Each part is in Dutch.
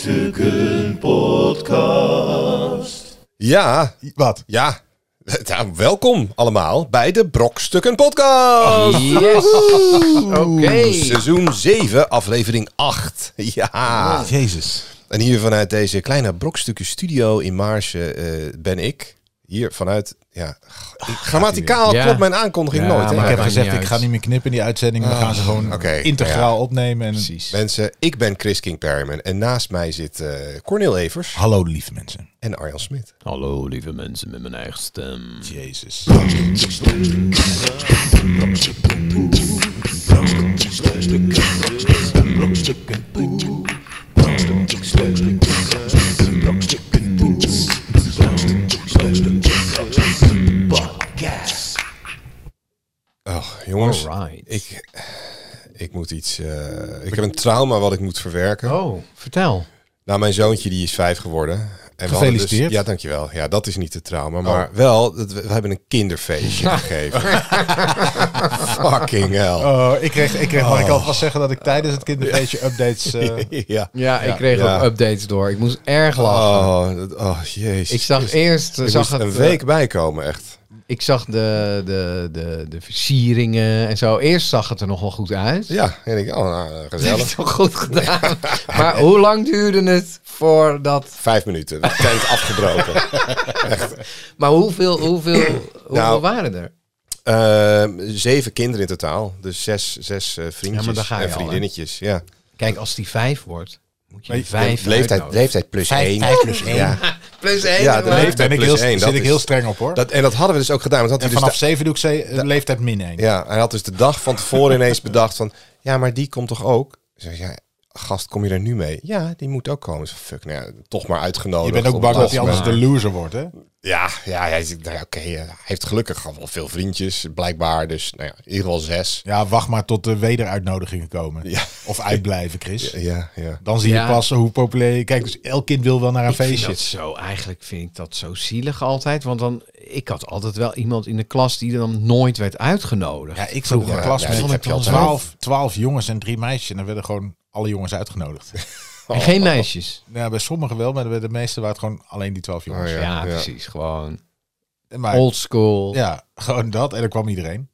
Brokstukken Podcast. Ja, Wat? ja. Nou, welkom allemaal bij de Brokstukken Podcast. Yes! Oké. Seizoen 7, aflevering 8. Ja. Jezus. En hier vanuit deze kleine Brokstukken studio in Maarsen eh, ben ik. Hier vanuit, ja. Grammaticaal Ja. klopt mijn aankondiging Ja, nooit. hè? maar ik heb maakt gezegd, niet ik uit. ga niet Ah. meer knippen in die uitzending. We gaan ze gewoon oké, integraal opnemen. En... Precies. Mensen, ik ben Chris King Perryman en naast mij zit eh Cornel Evers Hallo, lieve mensen. en Arjan Smit. Hallo lieve mensen met mijn eigen stem. Jezus. Oh, jongens, Alright. ik, ik moet iets. eh, ik heb een trauma wat ik moet verwerken. Oh, vertel. Nou, mijn zoontje die is vijf geworden. En we hadden Gefeliciteerd. Dus, ja, dankjewel. Ja, dat is niet het trauma, Oh. maar wel, dat we, we hebben een kinderfeestje gegeven. Fucking hell. Oh, ik kreeg, ik kreeg mag ik alvast zeggen dat ik tijdens het kinderfeestje updates... eh, Ja. Ja, ik kreeg Ja. ook updates door. Ik moest erg lachen. Oh, dat- oh, jezus. ik zag Christus. eerst eh, Ik zag moest het, een eh, week bijkomen, echt. ik zag de, de, de, de versieringen en zo. Eerst zag het er nog wel goed uit. Ja, en ik, oh, nou, Dat heb je gezellig. toch goed gedaan. maar hoe lang duurde het voordat... Vijf minuten, de tent afgebroken. Maar hoeveel, hoeveel, Nou- hoeveel waren er? Ehm, zeven kinderen in totaal, dus zes, zes eh, vriendjes daar ga je en al, hè? vriendinnetjes. ja. Kijk, als die vijf wordt, moet je Maar die vijf leeftijd, uitnodigen. leeftijd plus één. plus één. Ja. Plus één. Ja, de maar- leeftijd. ben ik plus heel, één, dat zit ik is- heel streng op, hoor. Dat, en dat hadden we dus ook gedaan. Want had hij en dus vanaf da- zeven doe ik ze, eh, leeftijd min één. Ja, hij had dus de dag van tevoren ineens bedacht van... Ja, maar die komt toch ook? Ik zei, ja, gast, kom je er nu mee? Ja, die moet ook komen. Ik zei, fuck, nou ja, toch maar uitgenodigd. Je bent ook Op bang dat het hij algemeen. anders de loser wordt, hè? Ja, ja, hij zegt, nou ja, oké, eh, hij heeft gelukkig gewoon wel veel vriendjes, blijkbaar. Dus nou ja, in ieder geval zes. Ja, wacht maar tot de wederuitnodigingen komen. Ja. Of uitblijven, Chris. Ja, ja. Dan zie je Ja. pas hoe populair... je- Kijk, dus elk kind wil wel naar een Ik vind feestje. dat zo, eigenlijk vind ik dat zo zielig altijd. Want dan, ik had altijd wel iemand in de klas die dan nooit werd uitgenodigd. Ja, ik vroeg een ja, klas ja, dat met heb je altijd. 12, 12 jongens en drie meisjes. En dan werden gewoon alle jongens uitgenodigd. En geen meisjes. ja, bij sommigen wel, maar bij de meeste waren het gewoon alleen die 12 jongens. Oh, Ja, ja, ja. precies. Gewoon Maar, old school. Ja, gewoon dat. En dan kwam iedereen.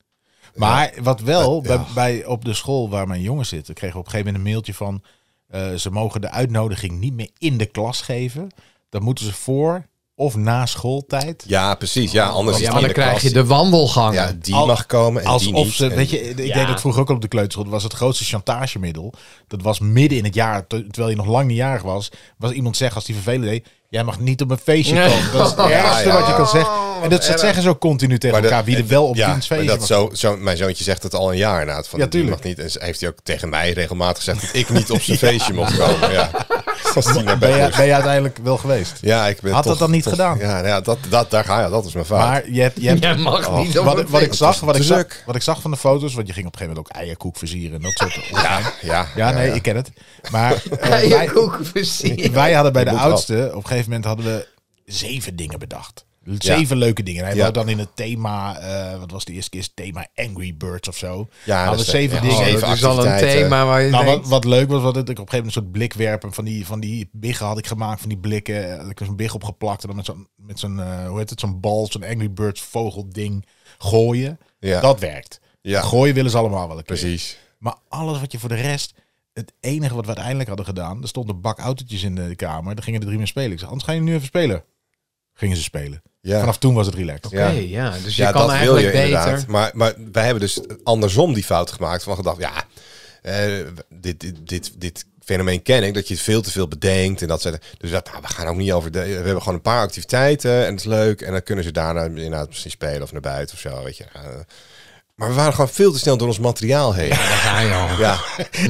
Maar wat wel, Ja. bij, bij, op de school waar mijn jongens zitten, kregen we op een gegeven moment een mailtje van... eh, ze mogen de uitnodiging niet meer in de klas geven. Dan moeten ze voor of na schooltijd... Ja, precies. Ja, anders Ja, is maar die dan in de krijg je klas. de wandelgangen. Ja, die Al- mag komen en die Alsof niet. ze, En- weet je, ik Ja. deed dat vroeger ook op de kleuterschool. Dat was het grootste chantagemiddel. Dat was midden in het jaar, te- terwijl je nog lang niet jarig was, was iemand zeggen als die vervelend deed, jij mag niet op een feestje Nee. komen. Dat is het Ja, ergste ja, Oh, wat je ja. kan zeggen. En dat, dat zeggen ze ook continu tegen Maar dat- elkaar, wie er wel op ja, dienst maar feestje dat mag. zo, zo, mijn zoontje zegt het al een jaar na het van Ja, die tuurlijk. mag niet. En ze- heeft hij ook tegen mij regelmatig gezegd dat ik niet op zijn feestje mocht komen. Ja. Als die naar ben, bed je, moest. ben je uiteindelijk wel geweest. Ja, ik ben Had dat toch- dan niet toch- gedaan? Ja, nou ja dat, dat, daar ga je. Dat is mijn fout. Maar je hebt, je hebt Jij mag niet op wat, een wat ik feest. zag, wat ik zag, Druk. wat ik zag van de foto's, want je ging op een gegeven moment ook eierkoek versieren en dat soort. Ja, ja, ja, ja nee, ik ken het. Maar eh, Ja, je wij- koek versieren. Wij hadden bij Je de moet wel. oudste, op een gegeven moment hadden we zeven dingen bedacht. Zeven leuke dingen. Hij Ja. wou dan in het thema, eh, wat was de eerste keer? Thema Angry Birds of zo. Ja, dat hadden is we de- zeven ja, dingen. Oh, zeven dat is al een activiteiten. thema waar je Nou, denkt, wat, wat leuk was, was dat ik op een gegeven moment een soort blikwerpen van die, van die biggen had ik gemaakt, van die blikken. Had ik er zo'n big opgeplakt en dan met zo'n, met zo'n eh, hoe heet het, zo'n bal, zo'n Angry Birds vogelding gooien. Ja. Dat werkt. Ja. Gooien willen ze allemaal wel een keer. Precies. Maar alles wat je voor de rest. Het enige wat we uiteindelijk hadden gedaan. Er stonden bak autootjes in de kamer. Daar gingen de drie mee spelen. Ik zei, anders ga je nu even spelen. Gingen ze spelen. Ja. Vanaf toen was het relaxed. Ja. Oké, ja. Dus je ja, kan dat wil eigenlijk je beter. inderdaad. Maar, maar wij hebben dus andersom die fout gemaakt. Van gedacht, ja, eh, dit, dit, dit, dit fenomeen ken ik. Dat je veel te veel bedenkt. En dat ze, dus dat, nou, we gaan ook niet over... De, we hebben gewoon een paar activiteiten en het is leuk. En dan kunnen ze daarna inderdaad misschien spelen of naar buiten of zo. Weet je. Eh, maar we waren gewoon veel te snel door ons materiaal heen. Daar ga je al. Ja.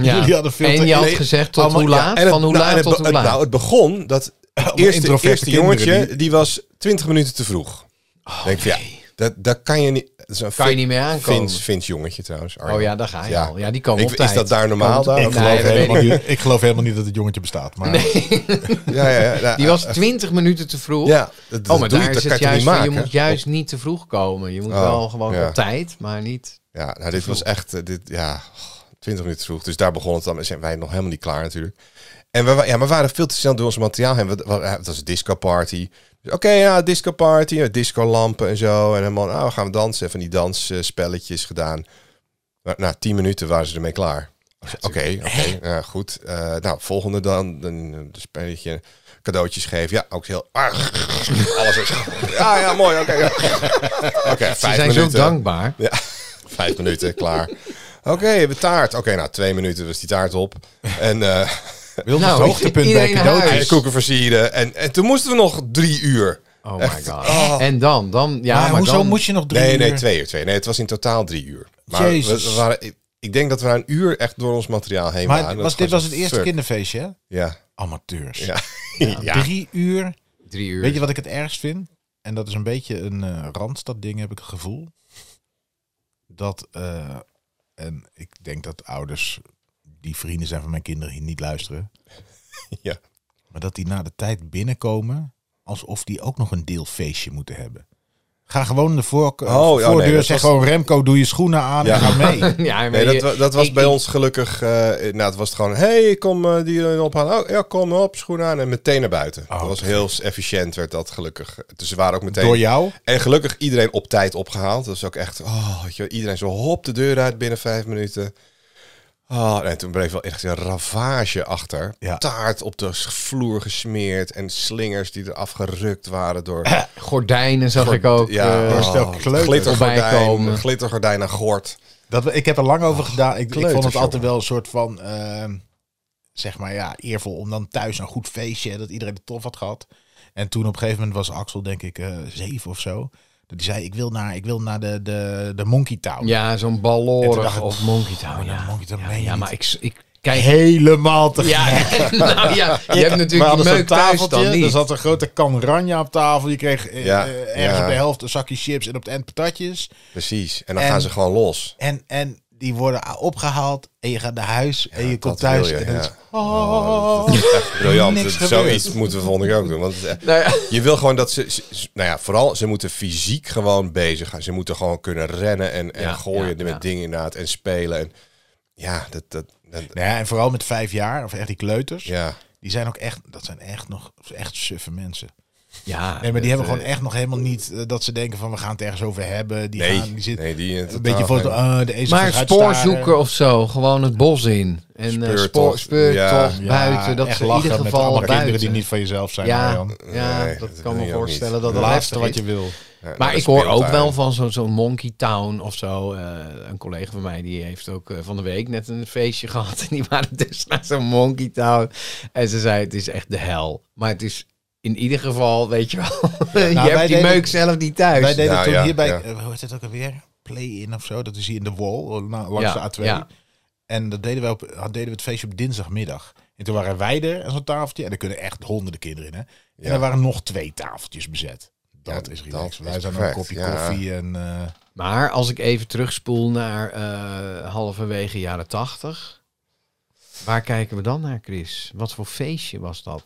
Ja. Jullie hadden veel te- en je had Nee, gezegd tot allemaal- hoe ja, laat? het- van hoe nou, en het laat tot be- hoe laat? Nou, het begon dat het eerste, introverte eerste kinderen jongetje, die... was 20 minuten te vroeg. denk ik van, ja, dat, dat kan je niet... dat is een Oh, Kan je Fin- niet meer aankomen. Fins, Fins jongetje trouwens. Arjen. Oh ja, daar ga je al. Ja, die komen Ik- op tijd. Is dat daar Komen normaal op daar? tijd. Ik, Nee, geloof dat weet helemaal niet, ik geloof helemaal niet dat het jongetje bestaat. Maar Ja, ja, ja, nou, Die was 20 minuten te vroeg. Ja, dat, dat oh, maar doe je, daar dat is kan het je toch niet juist van, je maken. moet juist Oh. niet te vroeg komen. Je moet Oh, wel gewoon ja. op tijd, maar niet... Ja, nou oh, dit was echt, eh, dit, ja, 20 minuten vroeg. Dus daar begon het dan. Zijn wij nog helemaal niet klaar natuurlijk. En we, wa- ja, maar we waren veel te snel door ons materiaal heen. We- we- Het was een disco party. Dus Oké, ja, disco party, disco lampen en zo. En helemaal, nou, we gaan dansen. En van die dansspelletjes gedaan. Maar Na tien minuten waren ze ermee klaar. Oké, oké, ja, goed. Eh, nou, volgende dan, een, een spelletje, cadeautjes geven. Ja, ook heel... Ah, alles is... Ja, ja, mooi, oké. ja. Oké, vijf Ze zijn minuten. zo dankbaar. Ja, vijf minuten, klaar. Oké, we taart. Oké, nou, twee minuten was die taart op. En eh Wil Nou, het hoogtepunt bij iedereen naar cadeautjes. huis. koeken versieren. En, en toen moesten we nog drie uur. Oh my Echt. god. Oh. En dan, dan, ja, maar maar hoezo dan, moet je nog drie nee, uur? nee, twee uur. Twee. Nee, het was in totaal drie uur. Maar we- Jezus. we waren, ik, ik denk dat we na een uur echt door ons materiaal heen Maar waren. Dat was, dit gewoon was het zo, eerste fuck. kinderfeestje, hè? Ja. Amateurs. Ja. Ja. Drie uur. drie uur. Weet je wat ik het ergst vind? En dat is een beetje een eh Randstad-ding, heb ik het gevoel. Dat, eh, en ik denk dat ouders, die vrienden zijn van mijn kinderen, hier niet luisteren. Ja. Maar dat die na de tijd binnenkomen, alsof die ook nog een deelfeestje moeten hebben. Ga gewoon de voork- Oh, oh, nee, voordeur, dat zeg was- gewoon Remco, doe je schoenen aan Ja. en ga mee. ja, maar Nee, je- dat, wa- dat was ik- bij ik- ons gelukkig... eh nou, het was gewoon... hey, kom eh, die eh, ophalen. Oh, ja, kom op, schoen aan. En meteen naar buiten. Oh, dat was heel efficiënt, werd dat gelukkig. Dus ze waren ook meteen... Door jou? En gelukkig iedereen op tijd opgehaald. Dat is ook echt, oh, weet je, wel, iedereen zo hop de deur uit binnen vijf minuten. Oh, en toen bleef wel echt een ravage achter. Ja. Taart op de vloer gesmeerd en slingers die eraf gerukt waren door... Gordijnen zag ik ook. ja, eh, door stel kleuters voorbij glittergordijn, komen. glittergordijn naar gort. Dat, we- ik heb er lang over gedaan. Ik, ik vond het kleuters, altijd wel een soort van, ehm, zeg maar ja, eervol om dan thuis een goed feestje, dat iedereen het tof had gehad. En toen op een gegeven moment was Axel denk ik eh, zeven of zo. Dat die zei, ik wil naar, ik wil naar de, de, de Monkey Town. Ja, zo'n En toen dacht ballorig ik, of Monkey Town. oh, Ja, nou, Monkey Town ja, meen je ja, niet. maar ik, ik kijk... Helemaal te Ja, nou ja, je hebt We natuurlijk die hadden zo'n meuk thuis dan tafeltje, er niet. zat een grote kan ranja op tafel. Je kreeg eh, Ja, eh, ergens ja. op de helft een zakje chips en op het eind patatjes. Precies. En dan En- gaan ze gewoon los. En, en die worden opgehaald en je gaat naar huis en je dat komt wil thuis je, en dan ja. is- oh. Dat is echt briljant. Niks Dat- gebeurd. Zoiets moeten we volgende keer ook doen. Want het is echt- Nou ja. Je wil gewoon dat ze, ze- ze- nou ja, vooral ze moeten fysiek gewoon bezig gaan. Ze moeten gewoon kunnen rennen en, en Ja, gooien ja, met ja. dingen inderdaad en spelen. En, ja, dat, dat, dat- Nou ja, en vooral met vijf jaar, of echt die kleuters, ja. die zijn ook echt, dat zijn echt nog echt suffe mensen. Ja, Nee, maar die dat, hebben eh, gewoon echt nog helemaal niet eh, dat ze denken van we gaan het ergens over hebben. Die, Nee, gaan, die zitten nee, die in een totaal beetje voor de, geen- eh de ezels Maar eruit spoor staren. zoeken of zo, gewoon het bos in. En eh spoor, Speurtocht. speurtocht, Ja. Ja, buiten, dat echt ze in ieder lachen met geval allemaal buiten. kinderen die niet van jezelf zijn. ja, Arjan. ja, Nee, dat dat kan wil me je ook voorstellen niet. dat Het het laatste lastig wat is. je wil. Ja, Maar dat ik hoor ook speeltuin. wel van zo'n zo'n Monkey Town of zo. Eh, een collega van mij die heeft ook eh, van de week net een feestje gehad. En die waren dus naar zo'n Monkey Town. En ze zei het is echt de hel. Maar het is in ieder geval, weet je wel. je wij hebt die deden- meuk zelf niet thuis. Wij deden Nou, toen ja, hierbij, ja. eh, hoe heet het ook alweer? Play-in of zo, dat is hier in de Wall, nou, langs Ja, de A2. ja. En dat deden we, op, had- deden we het feestje op dinsdagmiddag. En toen waren wij er aan zo'n tafeltje. En er kunnen echt honderden kinderen in. Hè? En Ja. er waren nog twee tafeltjes bezet. Dat Ja, is dat relaxed. Wij is zijn een perfect, kopje ja. koffie en... eh, Maar als ik even terugspoel naar eh, halverwege jaren tachtig. Waar kijken we dan naar, Chris? Wat voor feestje was dat?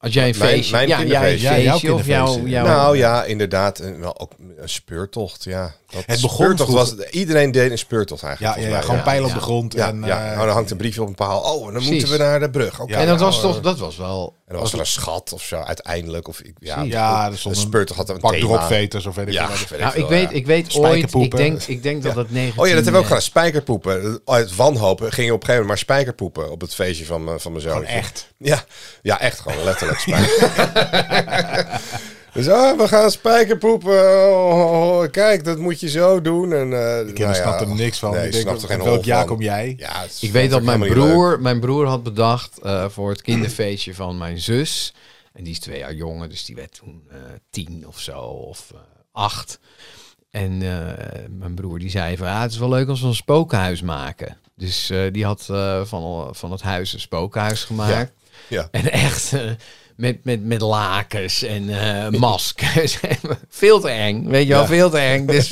Als jij een Mijn- feestje... mijn ja, jij een kinderfeestje. Ja, jouw feestje of jouw... kinderfeestje. jouw Nou ja, inderdaad. Een, wel, ook een speurtocht, ja. Dat Het begon speurtocht was, vroeger- iedereen deed een speurtocht ja, eigenlijk. ja, volgens mij. gewoon ja. pijlen op Ja. de grond. Ja, en, ja. eh, Oh, dan hangt een briefje op een paal. Oh, en dan Precies. moeten we naar de brug. Oké, Ja, en dat nou, was toch... eh, Dat was wel... En dan was er een schat of zo, uiteindelijk. Of, ik- ja, Ja, er een stond een speurtocht had een pak thema. dropveters of weet ik Ja, veel. wat. weet Nou, ik veel, ja. weet, ik weet ooit... Ik Spijkerpoepen. denk, ik denk dat dat 19... Oh ja, dat hebben we ook gedaan. Spijkerpoepen. Uit wanhopen ging je op een gegeven moment maar spijkerpoepen op het feestje van, mijn- van mijn zoon. Gewoon echt. Ja. ja, echt gewoon letterlijk spijker. dus ah, we gaan spijkerpoepen. Oh, oh, kijk, dat moet je zo doen. En, eh Ik ken snap er niks van. Nee, ik denk, snap er geen welk hol jaar van. kom jij? Ja, het Ik weet vond dat mijn helemaal niet leuk. broer, mijn broer had bedacht eh, voor het kinderfeestje van mijn zus. En die is twee jaar jonger, dus die werd toen eh, tien of zo, of eh, acht. En eh, mijn broer die zei van, ah, het is wel leuk als we een spookhuis maken. Dus eh, die had eh, van, van het huis een spookhuis gemaakt. Ja. En echt eh, met, met, met lakens en eh, maskers. En veel te eng, weet je wel, Ja. veel te eng. Dus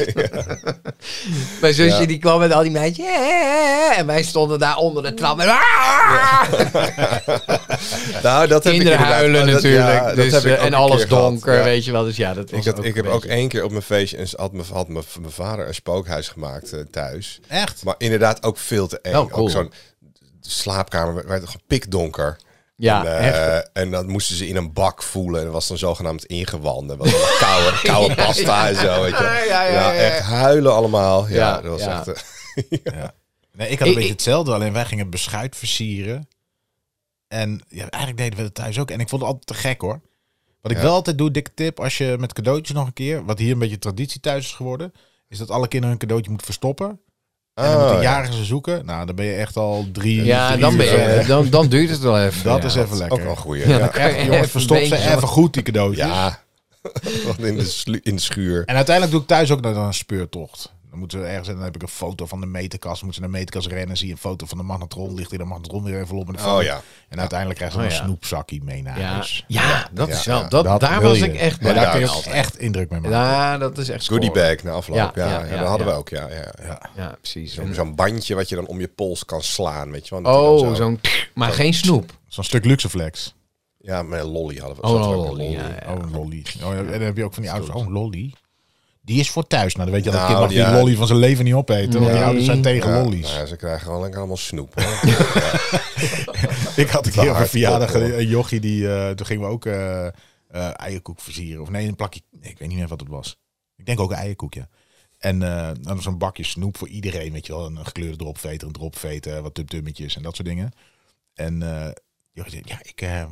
mijn zusje Ja. die kwam met al die meisjes. "Yeah." En wij stonden daar onder de trap. En, Nou, dat heb ik Kinderen inderdaad- huilen dat- ja, natuurlijk. dat dus, heb ik eh, ook en een alles keer gehad. donker, Ja. weet je wel. Dus ja, dat was Ik, had, ook ik heb een ook beetje- één keer op mijn feestje en had mijn, had mijn, mijn vader een spookhuis gemaakt eh, thuis. Echt? Maar inderdaad ook veel te eng. Wel Oh, cool. Ook zo'n slaapkamer werd gewoon pikdonker. Ja, en, eh, echt. en dat moesten ze in een bak voelen. En dat was dan zogenaamd ingewanden. Wat allemaal koude, koude pasta en zo. Weet je. Ja, ja, ja, ja. echt huilen allemaal. Ja, Ja, dat was ja. echt... eh, Nee, ik had een Ik- beetje ik- hetzelfde, alleen wij gingen beschuit versieren. En ja, eigenlijk deden we dat thuis ook. En ik vond het altijd te gek hoor. Wat ik Ja. wel altijd doe, dikke tip, als je met cadeautjes nog een keer, wat hier een beetje traditie thuis is geworden, is dat alle kinderen een cadeautje moeten verstoppen. En dan oh, moeten ja. jarigen ze zoeken. Nou, dan ben je echt al drie. ja, drie dan, uur ben je, eh, verder. dan, dan duurt het wel even. Dat ja. is even Ook lekker. wel een goeie. Ja, Ja, dan krijg je even Jongens, verstop een ze beetje even goed die cadeautjes. ja. Want in, de slu- in de schuur. En uiteindelijk doe ik thuis ook nog een speurtocht. Dan moeten we ergens en dan heb ik een foto van de meterkast. Moeten ze naar de meterkast rennen en zie je een foto van de magnetron. Ligt in de magnetron weer even op. En, Oh ja. en uiteindelijk krijg je Oh, een ja. snoepzakje mee naar Ja, huis. ja, dat Ja, is wel. ja. Dat, Dat daar wil was je. ik echt Maar bij. daar kun je Ja, ook altijd. echt indruk mee maken. Ja, dat is echt Goodie scoren. bag na afloop. Ja, Ja, ja, ja, ja, dat hadden ja. we ook. Ja, ja, ja. Ja, precies. Zo'n- Zo'n bandje wat je dan om je pols kan slaan, weet je wel. Dat je dan oh, zo- zo'n... Maar geen snoep. Zo'n stuk Luxeflex. Ja, met een lolly hadden we. Oh, zat er ook lolly, een lolly. ja, ja. Oh, een lolly. Oh, ja, en dan heb je ook van die ouders. Oh, een lolly. Die is voor thuis. Nou, dan weet je dat het Nou, kind mag ja. die lolly van zijn leven niet opeten. Want Nee. die ouders zijn tegen Ja, lollies. nou ja, ze krijgen gewoon lekker allemaal snoep. hoor. Ik had een Te keer op een hard verjaardag Oh, op, hoor. een een jochie die... eh, toen gingen we ook eh, eh, eierkoek versieren. Of nee, een plakje... nee, ik weet niet meer wat het was. Ik denk ook een eierkoek, ja. En eh, dan zo'n bakje snoep voor iedereen, weet je wel. Een gekleurde dropveter, een dropveter, wat tumtummetjes en dat soort dingen. En eh jochie zei, ja, ik... eh,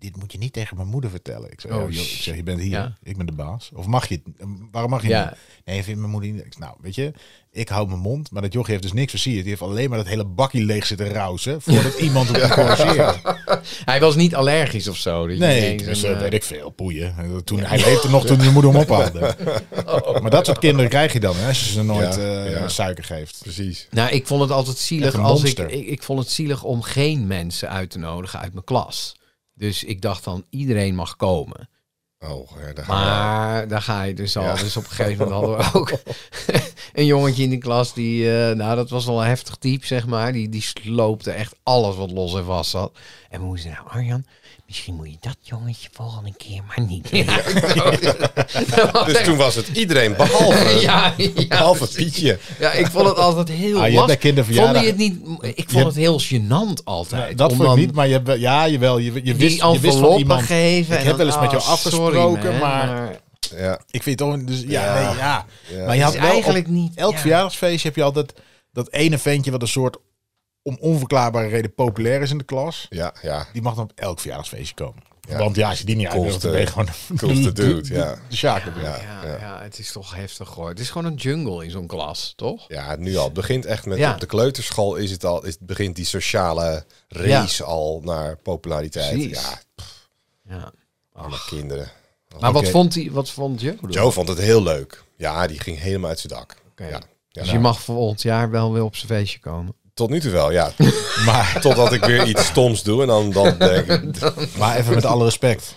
dit moet je niet tegen mijn moeder vertellen. Ik zei, Oh, oh, joh, ik zeg, je bent hier. ja. Ik ben de baas. Of mag je het? eh, Waarom mag je het Ja, niet? Nee, vindt mijn moeder niet. Ik zei, Nou, weet je, ik hou mijn mond. Maar dat jochie heeft dus niks versierd. Die heeft alleen maar dat hele bakje leeg zitten rausen. Voordat iemand hem corrigeert. hij was niet allergisch of zo. dat je Nee, ineens dus een, dat eh, weet ik veel. Poeien. Eh, Toen, Hij leefde nog toen de moeder hem ophaalde. eh, oh, Maar dat soort kinderen krijg je dan. Hè, als je ze nooit Ja, eh, ja. suiker geeft. Precies. Nou, ik vond het altijd Echt zielig een als ik, monster. ik... Ik vond het zielig om geen mensen uit te nodigen uit mijn klas. Dus ik dacht dan, iedereen mag komen. Oh, ja, daar gaan we. Maar daar ga je dus al. Ja. Dus op een gegeven moment hadden we ook een jongetje in de klas die, eh, nou dat was wel een heftig type zeg maar. Die, die sloopte echt alles wat los en vast zat. En we moesten nou Arjan, misschien moet je dat jongetje volgende keer maar niet meer. Dat was Dus echt- toen was het eh, iedereen, behalve, ja, ja, behalve Pietje. ja, ik vond het altijd heel Ah, je hebt bij lastig. kinderverjaardag- Vond je het niet? Ik hebt- vond het heel gênant altijd. Nou, dat om vond ik dan niet. Maar je, hebt wel- ja, jawel. Je, je, wist, die je wist van iemand. geven. oh, Ik heb wel eens met jou afgesproken, maar- Ja, Ik vind het ook... Dus, ja, Ja. Nee, ja. ja. Maar je had is wel op eigenlijk niet. elk ja. verjaardagsfeestje heb je altijd dat ene ventje... wat een soort om onverklaarbare reden populair is in de klas. ja, ja. Die mag dan op elk verjaardagsfeestje komen. Ja. Want ja, als je die niet uitnodigt, Coolste- dan ben je gewoon... coolste dude, ja. De Sjaker. Ja. ja, ja. het is toch heftig hoor. Het is gewoon een jungle in zo'n klas, toch? Ja, nu al. Het begint echt met Ja. op de kleuterschool is het al, is, begint die sociale race al naar populariteit. Precies. Ja, Ja. allemaal kinderen. Maar wat Oké. vond, hij, wat vond je? Joe vond het heel leuk. Ja, die ging helemaal uit zijn dak. Oké. Ja. Ja, dus nou, je mag volgend jaar wel weer op zijn feestje komen. Tot nu toe wel, ja. maar totdat ik weer iets stoms doe en dan, dan denk ik, Maar even met alle respect.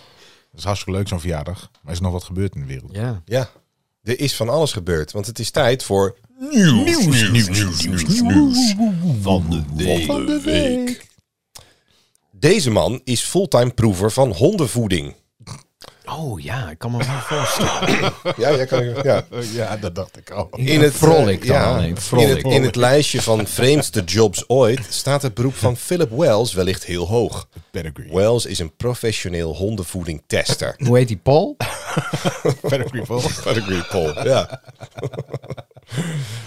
Dat is hartstikke leuk zo'n verjaardag. Maar is er nog wat gebeurd in de wereld? Ja. ja, er is van alles gebeurd. Want het is tijd voor nieuws, nieuws, nieuws, nieuws, nieuws, nieuws. Van de Van de week. Deze man is fulltime proever van hondenvoeding. Oh ja, ik kan me wel voorstellen. Ja, ja, kan ik, ja. Oh, Ja, dat dacht ik al. In het vrolijk eh, dan alleen. Vrolijk. In, het, in het lijstje van vreemdste jobs ooit staat het beroep van Philip Wells wellicht heel hoog. Pedigree. Wells is een professioneel hondenvoedingtester. Hoe heet die Paul? Pedigree vol. Pedigree Paul, ja.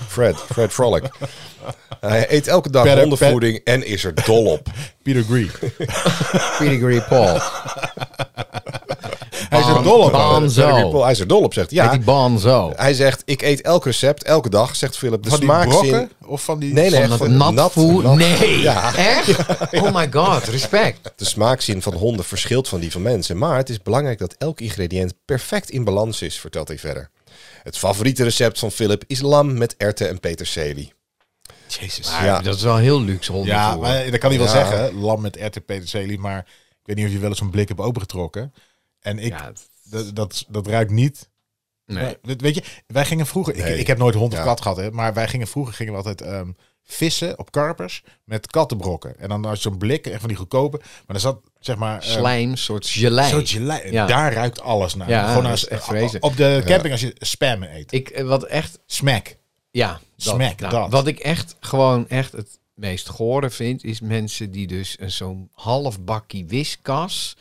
Fred, Fred Frolic. Hij eet elke dag Ped- hondenvoeding en is er dol op. Pedigree. Pedigree Paul. Hij is er dol op. Pedigree Paul, Banzo. hij is er dol op, zegt hij. Heet Ja, die Banzo. hij zegt, ik eet elk recept, elke dag, zegt Philip. De Van die brokken? smaakzin... Of van die... Nee, nee, Van echt dat een nat voer- nat- Nee, Ja. echt? Oh my god, respect. De smaakzin van honden verschilt van die van mensen, maar het is belangrijk dat elk ingrediënt perfect in balans is, vertelt hij verder. Het favoriete recept van Philip is lam met erwten en peterselie. Jezus. Maar Ja. dat is wel heel luxe hondenvoer. Ja, maar dat kan hij wel Ja. zeggen. Lam met RT Peterselie. Maar ik weet niet of je wel eens een blik hebt opengetrokken. En ik... Ja, het- Dat, dat, dat ruikt niet nee. Maar, weet je, wij gingen vroeger. Nee. Ik, ik heb nooit hond of Ja. kat gehad, hè, maar wij gingen vroeger gingen we altijd ehm, vissen op karpers met kattenbrokken. En dan had je zo'n blik, echt van die goedkope. Maar er zat zeg maar. ehm, Slijm, soort gelei. Zo'n gelei. Ja. Daar ruikt alles naar. Ja, Gewoon dat als, is echt vreselijk. op de camping als je spam eet. Ik, eh, wat echt Smack. Ja, dat, Smack, nou, dat. Wat ik echt gewoon echt het meest gore vind, is mensen die dus een zo'n half bakkie wiskas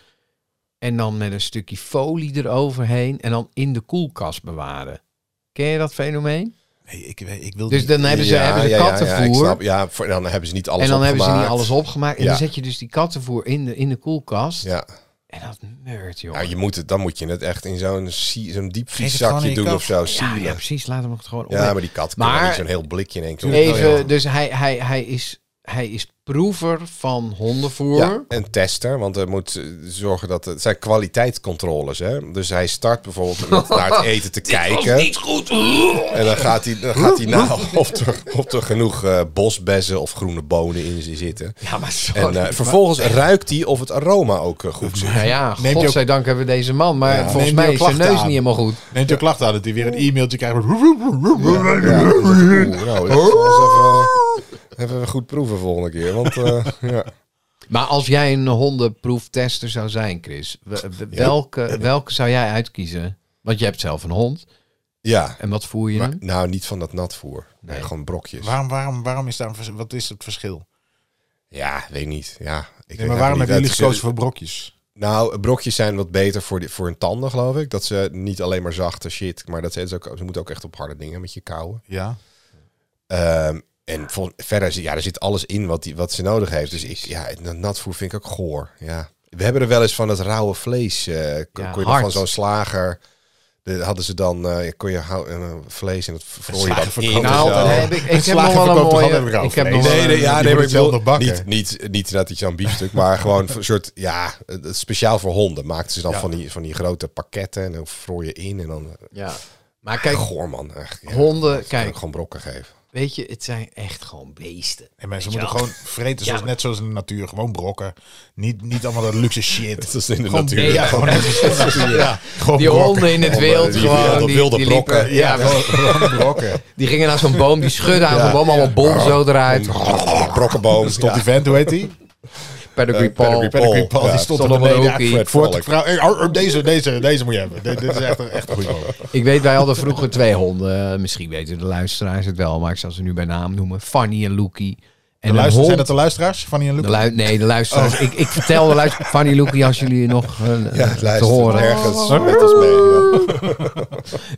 en dan met een stukje folie eroverheen en dan in de koelkast bewaren. Ken je dat fenomeen? Nee, ik, weet- ik wil Dus niet- dan hebben ze, ja, hebben ze ja, ja, ja, ik kattenvoer. snap. Ja, voor- dan hebben ze niet alles en dan hebben ze niet opgemaakt. alles opgemaakt. En Ja. dan zet je dus die kattenvoer in de, in de koelkast. Ja. En dat nerd, joh. Ja, je moet het, dan moet je het echt in zo'n si- zo'n Geef het gewoon diepvrieszakje in je doen kast. of zo. Ja, Ja, ja, ja, precies. Laat hem het gewoon op. maar die kat kan Maar- niet zo'n heel blikje in één keer. Oh, Even, opnemen. dus hij, hij, hij, is, hij is proever van hondenvoer. Ja, een tester, want hij moet eh, zorgen dat... Het het zijn kwaliteitscontroles, hè. Dus hij start bijvoorbeeld met naar het eten te kijken. goed. En dan gaat hij, dan gaat hij nou na of er, of er genoeg eh, bosbessen of groene bonen in z- zitten. Ja, maar sorry. Oh, En eh, vervolgens ruikt hij of het aroma ook eh, goed zit. Nou ja, Neemt hij ook- godzijdank hebben we deze man. Maar Neemt volgens hij mij ook is zijn klachten neus niet aan? helemaal goed. Neemt u klacht aan dat hij weer een e-mailtje krijgt. met- Ja, Oh, dus dat is echt cool. Nou, dat is even, eh, even goed proeven volgende keer. Want eh, ja. Maar als jij een hondenproeftester zou zijn, Chris, we- we- welke, welke zou jij uitkiezen? Want je hebt zelf een hond. ja. En wat voer je Maar, hem? nou, niet van dat natvoer. Nee, Nee. gewoon brokjes. Waarom, waarom, waarom is daar een vers- wat is het verschil? Ja, weet niet. Ja, ik weet Nee, maar eigenlijk waarom hebben niet. jullie Het is- gekozen voor brokjes? Nou, brokjes zijn wat beter voor, die, voor hun tanden, geloof ik. Dat ze niet alleen maar zachte shit, maar dat ze, ze, ook, ze moeten ook echt op harde dingen met je kauwen. Ja. Ehm, en vol- verder, zit- ja, er zit alles in wat, die, wat ze nodig heeft. Dus ik, ja, dat natvoer vind ik ook goor. Ja. We hebben er wel eens van dat rauwe vlees. eh, kon- Ja, kon je hard. nog van zo'n slager. De, hadden ze dan, eh, kon je hou- eh, vlees en dat vroor je slager dan in. verkoopt en Nou, zo. dan heb ik, ik heb slager nog wel een verkoopt toch mooie... altijd rauw Ik heb vlees? nog wel Nee, een- nee, ja, je nee, moet het maar ik zelf bedoel, nog bakken. Niet, niet, niet dat iets aan biefstuk, maar gewoon een soort, ja, het- het speciaal voor honden maakten ze dan Ja. van, die, van die grote pakketten en dan vroor je in en dan, eh, Ja. Maar kijk, goor man, echt. Ja, honden, dat kan kijk. ik gewoon brokken geven. weet je, het zijn echt gewoon beesten. En mensen Weet je moeten gewoon wel? vreten, zoals, maar- net zoals in de natuur. Gewoon brokken. Niet, niet allemaal dat luxe shit. Dat is in de Gewoon- natuur. Ja, gewoon net zoals in de natuur. Ja, gewoon Die brokken. honden in het Honden, wild die- gewoon. die- Die, wilde die liepen- brokken. ja, Ja, gewoon brokken. Die gingen naar zo'n boom, die schudden aan Ja. zo'n boom, allemaal bonzo eruit. Brokkenboom. Stond die vent, hoe heet die? Pedigree Eh, pedigree Paul. Paul. Paul, ja, die stond er stond er beneden ook in. ja, voor te Volk. vrouw. Hey, oh, oh, deze, deze, deze moet je hebben. Dit, dit is echt, een- echt een goede man. Ik weet, wij hadden vroeger twee honden. Eh, Misschien weten de luisteraars het wel, maar ik zal ze nu bij naam noemen. Fanny en Loekie. En De een luister, hond- zijn dat Oh. de luisteraars? Fanny en de Luke? lui- nee, de luisteraars. Ik, ik vertel de luisteraars. Fanny Loekie, als jullie nog eh, Ja, te luister, horen. ergens met ons mee. ja.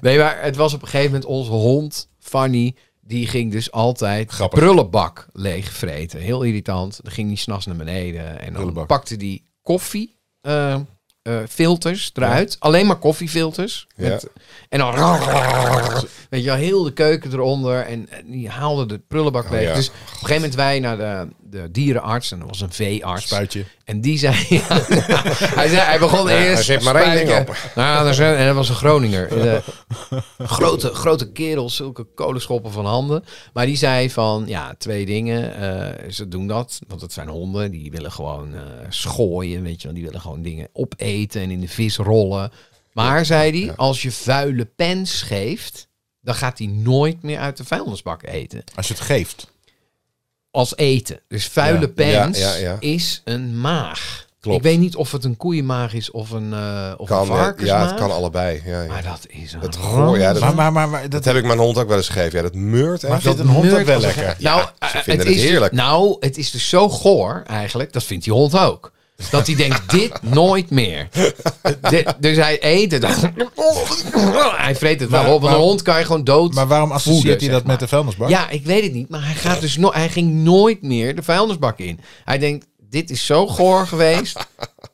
Nee, maar het was op een gegeven moment onze hond, Fanny. Die ging dus altijd Grappig. prullenbak leegvreten. Heel irritant. Dan ging hij s'nachts naar beneden. En dan Prullenbak. pakte die koffiefilters eruit. Alleen maar koffiefilters. Ja. Met- En dan... Weet je wel, heel de keuken eronder. En eh, die haalde de prullenbak leeg. ja. Dus op een gegeven moment wij naar de, de dierenarts. En dat was een veearts. Spuitje. En die zei, hij, zei hij begon Ja, eerst. er zit maar één ding spuiken. Nou, er zijn- en dat was een Groninger. De grote, grote kerel, zulke kolenschoppen van handen. Maar die zei van, ja, twee dingen. eh, ze doen dat, want dat zijn honden. Die willen gewoon eh, schooien, weet je wel. Die willen gewoon dingen opeten en in de vis rollen. Maar, zei hij, als je vuile pens geeft... dan gaat hij nooit meer uit de vuilnisbak eten Als je het geeft. als eten. Dus vuile Ja. pens Ja, ja, ja. is een maag. Klopt. Ik weet niet of het een koeienmaag is of een, eh of Kan, een eh, ja, varkensmaag. het kan allebei. Ja, ja. Maar dat is een Het het goor, ja, dat, Maar, maar, maar, maar dat dat, heb ik mijn hond ook wel eens gegeven. Ja, dat meurt echt. maar vindt een hond ook wel lekker? Nou, eh, vinden het het is heerlijk. Dus, nou, het is dus zo goor eigenlijk. Dat vindt die hond ook. Dat hij denkt, dit nooit meer. Dit- dus hij eet het. hij vreet het Maar- wel op. Want een maar- hond kan je gewoon dood Maar waarom associeert hij zeg dat met maar. de vuilnisbak? Ja, ik weet het niet. Maar hij, gaat dus no hij ging nooit meer de vuilnisbak in. Hij denkt, dit is zo goor geweest.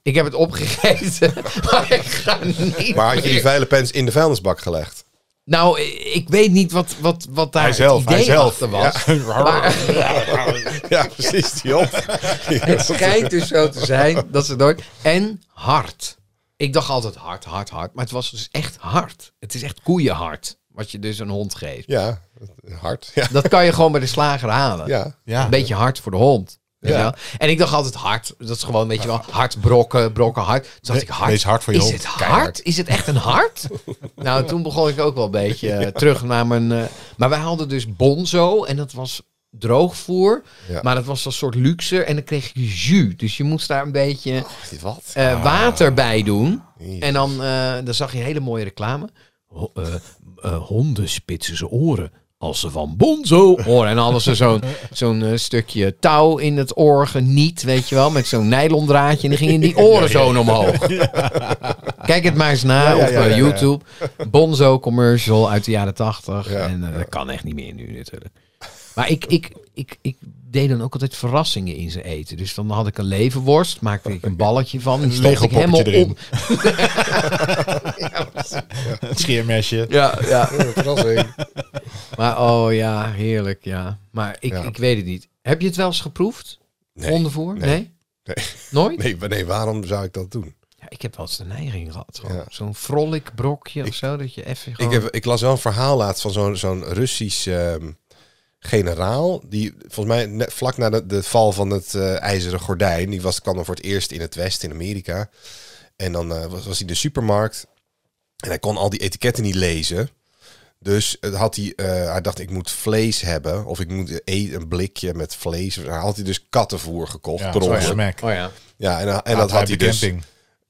Ik heb het opgegeten. Maar ik ga niet Maar had je die meer. vuile pens in de vuilnisbak gelegd? Nou, i- ik weet niet wat, wat, wat daar Hij zelf, het idee hij zelf. achter was. Maar Ja, precies, die hond. het schijnt dus zo te zijn dat ze nooit... En hard. Ik dacht altijd hard, hard, hard. Maar het was dus echt hard. Het is echt koeienhard. Wat je dus een hond geeft. Ja, hard. Ja, Dat kan je gewoon bij de slager halen. ja. Ja. Een beetje hard voor de hond. weet Ja. je wel? En ik dacht altijd hard. Dat is gewoon, weet je wel, hard brokken, brokken hard. Toen dacht We- ik hard. wees hard voor je is hond. het hard? Keihard. Is het echt een hart? nou, toen begon ik ook wel een beetje eh, terug naar mijn... eh, maar wij hadden dus bonzo en dat was droogvoer. Ja. Maar dat was een soort luxe en dan kreeg je jus. Dus je moest daar een beetje Wat? eh, water bij doen. Ah. Jezus. En dan, eh, dan zag je hele mooie reclame. Ho- eh, eh, honden spitsen zijn oren. Als ze van Bonzo horen. En dan hadden ze zo'n zo'n eh, stukje touw in het oor geniet, weet je wel. Met zo'n nylondraadje. En dan gingen die oren zo omhoog. Kijk het maar eens na Ja, ja, op ja, eh, ja, ja. YouTube. Bonzo commercial uit de jaren tachtig. Ja, en eh, dat kan echt niet meer nu natuurlijk. Maar ik, ik, ik, ik deed dan ook altijd verrassingen in zijn eten. Dus dan had ik een levenworst, maakte ik een balletje van. En die stond ik Lego helemaal poppetje op. Het scheermesje. Ja, ja. Verrassing. Maar oh ja, heerlijk, ja. Maar ik, Ja. ik weet het niet. Heb je het wel eens geproefd? Nee, Ondervoer? Nee. nee, nee. Nooit? Nee, wa- nee, waarom zou ik dat doen? Ja, ik heb wel eens de neiging gehad. gewoon. Ja. Zo'n vrolijk brokje of Ik- zo, dat je even Ik, gewoon... heb, ik las wel een verhaal laatst van zo'n zo'n Russisch ehm, generaal. Die volgens mij net vlak na de, de val van het eh, ijzeren gordijn. Die was, kwam dan voor het eerst in het West, in Amerika. En dan eh, was, was hij in de supermarkt. En hij kon al die etiketten niet lezen. Dus het had hij, eh, hij dacht, ik moet vlees hebben. Of ik moet e- een blikje met vlees. Hij had hij dus kattenvoer gekocht. Ja, per zo'n ongeluk. smack. Oh ja. ja en, en dat had hij dus camping.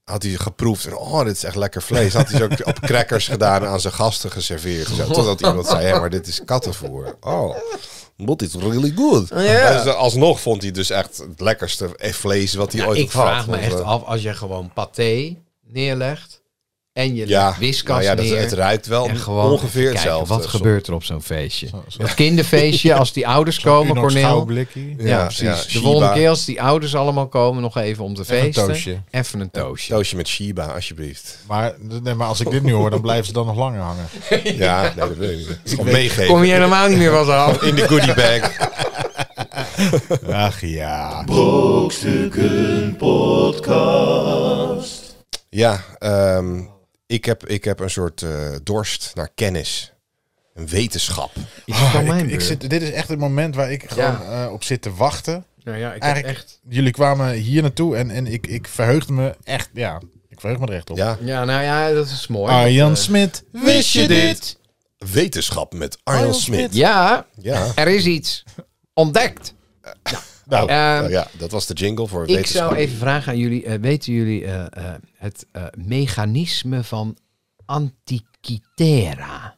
had hij geproefd. En oh, dit is echt lekker vlees. Had hij zo op crackers gedaan en aan zijn gasten geserveerd. Zo, totdat iemand zei, hé, maar dit is kattenvoer. Oh, but it's really good. Oh, Ja. Dus alsnog vond hij dus echt het lekkerste eh, vlees wat hij Ja, ooit ik had gehad. vraag me Want, echt eh, af, als je gewoon paté neerlegt en je Ja, legt wiskas nou ja dat, neer... het ruikt wel en gewoon ongeveer even kijken, hetzelfde. wat gebeurt er op zo'n feestje? Zo- zo- Het kinderfeestje, als die ouders komen, Unox Cornel. schouwblikkie. Ja, Ja, ja, precies. de Shiba. volgende keer als die ouders allemaal komen, nog even om te Even een feesten. toosje. Even een toosje. Toosje met Shiba, alsjeblieft. Maar, nee, maar als ik dit nu hoor, dan blijven ze dan nog langer hangen. Ja, nee, dat wil ik niet. Of Kom meegeven. je helemaal niet meer wat aan. In de goodie bag. Ach ja. Ja, ehm, ik, heb, ik heb een soort eh, dorst naar kennis. Een wetenschap. Oh, Ah, ik, ik zit, dit is echt het moment waar ik gewoon eh, op zit te wachten. Nou ja, ik Eigenlijk- heb echt... Jullie kwamen hier naartoe en, en ik, ik verheugde me echt, ja, ik verheug me er echt op. Ja, Ja, nou ja, dat is mooi. Arjan Dat, eh, Smit, wist Ah, je dit? wetenschap met Arjan Arjan Smit. Smit. Ja, Ja. er is iets ontdekt. Nou, Ehm, Nou ja, dat was de jingle voor ik wetenschap. zou even vragen aan jullie. eh, weten jullie eh, eh, het eh, mechanisme van Antikythera?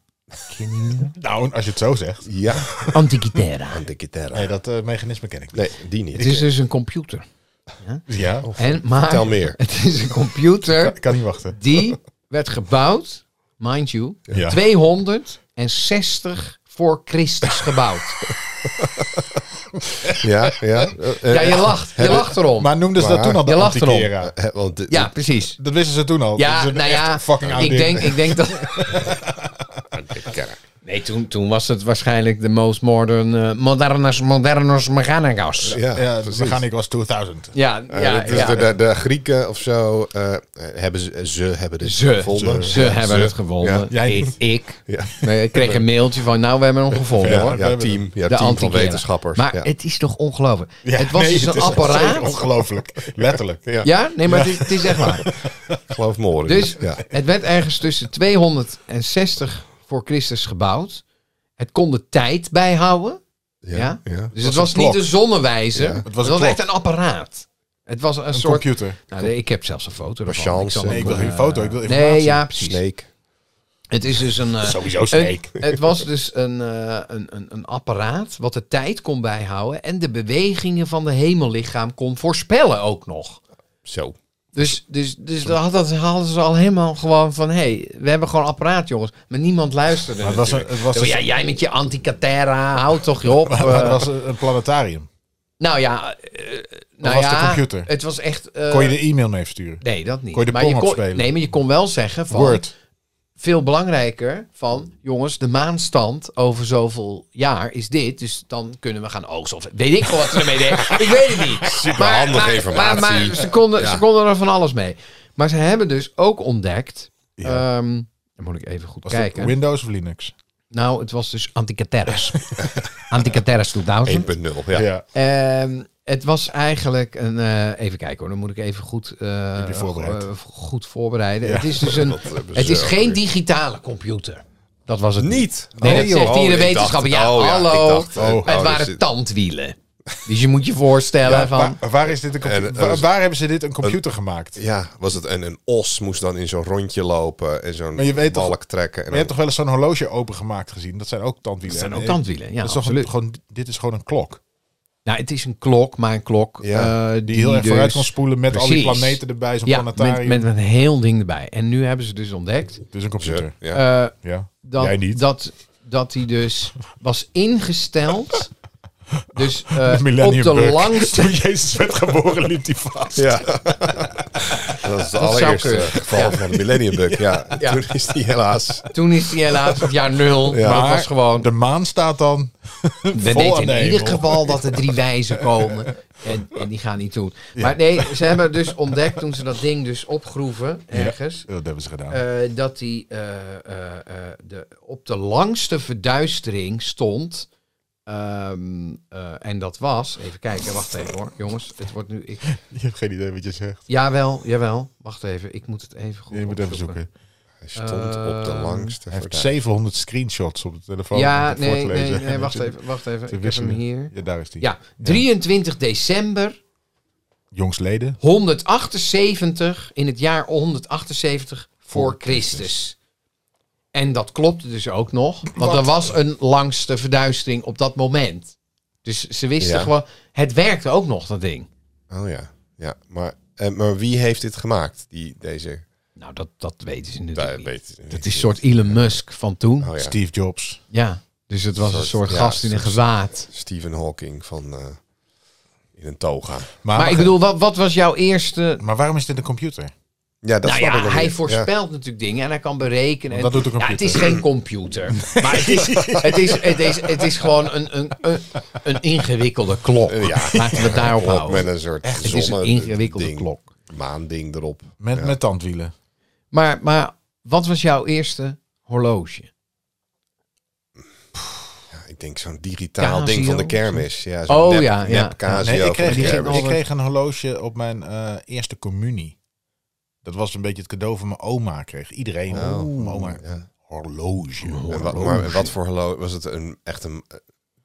Kennen jullie dat? nou, als je het zo zegt. Ja, Antikythera. aan de guitarra. Nee, dat eh, mechanisme ken ik niet. Nee, die niet. Het is dus een computer. Ja, En, maar, Vertel meer. Het is een computer ik kan niet wachten. die werd gebouwd, mind you, Ja. 260 voor Christus gebouwd. Ja, ja. Eh, eh, Ja, je lacht. Je lacht erom. Maar noemden ze dat Maar- toen al de Je lacht erom. antikera? eh, want de- ja, precies. Dat wisten ze toen al. Ja, Dat is een nou echt ja, fucking oud ik ding. denk, ik denk dat... Nee, toen, toen was het waarschijnlijk de most modern, eh, modernus, modernus mechanicus. Ja, Ja, precies. we gaan ik was 2000. Ja, Eh, ja, dat is ja. De, de, de Grieken of zo eh, hebben ze, ze hebben dit Ze, ze, gevonden. ze hebben het gevonden. Ja. Jij ik, niet. ik. Ja. Nee, ik kreeg een mailtje van, nou, we hebben hem gevonden Ja, ja, hoor. hebben team, ja, de team van antikythera. wetenschappers. Maar ja. het is toch ongelooflijk. Ja, het was nee, dus het een is apparaat. echt Ongelooflijk. Letterlijk. Ja. Ja, nee, maar Het, is, het is echt waar. Ik geloof morgen. Dus ja. het werd ergens tussen 260 voor Christus gebouwd. Het kon de tijd bijhouden. Ja, ja. ja. Dus het was was een niet klok. de zonnewijzer. Ja. Het Het was, was een echt een apparaat. Het was een, Een soort... computer. Nou, nee, ik heb zelfs een foto ervan. Chance. zal Nee, hem, ik wil eh, geen foto, ik wil Nee, informatie. ja, precies. Snake. Het is dus een... eh, Sowieso een- Snake. het was dus een, eh, een, een, een apparaat wat de tijd kon bijhouden... en de bewegingen van de hemellichaam kon voorspellen ook nog. Zo. Dus, dus, dus dat, dat hadden ze al helemaal gewoon van... hé, hey, we hebben gewoon een apparaat, jongens. Maar niemand luisterde Maar het was, een, natuurlijk. het was, Zo, ja, jij met je anticatera, houd toch je op. maar het eh. was een een planetarium. Nou ja, eh, nou was ja, de computer? Het was echt. eh, Kon je de e-mail mee versturen? Nee, dat niet. kon je de maar je pong kon, opspelen? Nee, maar je kon wel zeggen van. Word. Veel belangrijker van, jongens, de maanstand over zoveel jaar is dit. Dus dan kunnen we gaan oogsten. Of weet ik wel wat ze ermee deden. Ik weet het niet. Superhandige Maar- maar- informatie. Maar, maar ze, konden, Ja. ze konden er van alles mee. Maar ze hebben dus ook ontdekt. Ja. ehm, dan moet ik even goed Was het kijken. Windows of Linux? Nou, het was dus Antikytheras. Antikytheras 2000. 1.0. Ja. Ehm, het was eigenlijk een. eh, even kijken hoor, dan moet ik even goed, eh, Heb je voorbereid? eh, goed voorbereiden. Ja. Het is dus een. Dat hebben Het ze is ook geen weer. digitale computer. Dat was het Niet. Nee, Oh, dat zegt joh. hier de Oh, ik dacht- wetenschapper. Ja, oh, ik hallo. dacht, eh, het oh, waren dus- tandwielen. Dus je moet je voorstellen Ja, van... waar, waar is dit een compu- En, eh, waar, waar hebben ze dit een computer gemaakt? Ja, was het. En een os moest dan in zo'n rondje lopen en zo'n Maar je weet toch- balk trekken. En Maar je hebt toch wel eens zo'n horloge opengemaakt gezien? Dat zijn ook dat tandwielen. zijn En, ook eh, tandwielen, ja, dat is toch absoluut. een- gewoon, dit is gewoon een klok. Nou, het is een klok, maar een klok Ja, eh, Die heel erg vooruit dus- kan spoelen met al die Precies. planeten erbij. Zo'n Ja, met, planetarium. met een heel ding erbij. En nu hebben ze dus ontdekt Het is een dan- computer. ja. eh, Ja. dat, Jij niet. dat dat hij dus was ingesteld. Dus eh, op Millennium de Bug. langste Toen Jezus werd geboren liep hij vast. Ja. dat is het zou allereerste kunnen. geval van de Millennium Bug. Ja. Toen is die helaas. Toen is hij helaas op jaar nul. Ja. maar Maar het was gewoon. De maan staat dan we vol weten aan in de ieder hemel. geval dat er drie wijzen komen. En, en die gaan niet doen. Maar nee, ze hebben dus ontdekt toen ze dat ding dus opgroeven ergens. Dat hebben ze gedaan. eh, dat hij eh, eh, eh, de, op de langste verduistering stond. Ehm, eh, en dat was. Even kijken, wacht even hoor. Jongens, het wordt nu. Ik, je hebt geen idee wat je zegt. jawel, jawel. Wacht even, ik moet het even goed. Je moet even zoeken. Hij stond op de Ehm, langste Hij heeft verduistering. 700 screenshots op de telefoon. om Ja, het voor nee, te nee, lezen. nee, wacht even. Wacht even. Te Ik heb hem wisselen. hier. Ja, daar is die. Ja, 23 december Jongsleden. 178 in het jaar 178 voor Voor Christus. En dat klopte dus ook nog, want Wat? er was een langste verduistering op dat moment. Dus ze wisten Ja. gewoon, het werkte ook nog, dat ding. Oh ja. ja. Maar, eh, maar wie heeft dit gemaakt? Die, deze. Nou, dat, dat weten ze Daar natuurlijk niet. weet ik niet. Het is een soort Elon Musk van toen. Oh ja. Steve Jobs. Ja, dus het was Soort- een soort ja, gast in een soort- gewaad. Stephen Hawking van. eh, in een toga. Maar ik bedoel, wat, wat was jouw eerste... Maar waarom is dit een computer? Ja, dat nou snap ik ja, nog hij niet. Ja. voorspelt natuurlijk dingen en hij kan berekenen. Want dat en- doet de ja, het is computer. geen computer. maar het is, het is, het is, het is gewoon een, een, een, een ingewikkelde klok. Eh, ja. Laten we het daarop Klok met houden. een soort Het is een zonne- ingewikkelde ding, klok. Maanding erop. Met, Ja. met tandwielen. Maar, maar wat was jouw eerste horloge? Ja, Nou, ik denk zo'n digitaal Casio, ding van de zo'n- kermis. Ja, zo'n Oh, nep, ja, ja. nep Casio Nee, ik van de kreeg, die ik, ging kermis. al- ik kreeg een horloge op mijn eh, eerste communie. Dat was een beetje het cadeau van mijn oma. Kreeg iedereen. Oh. Oeh, mijn oma. Ja. Horloge. En wat, maar wat voor horloge? Was het een, echt een eh,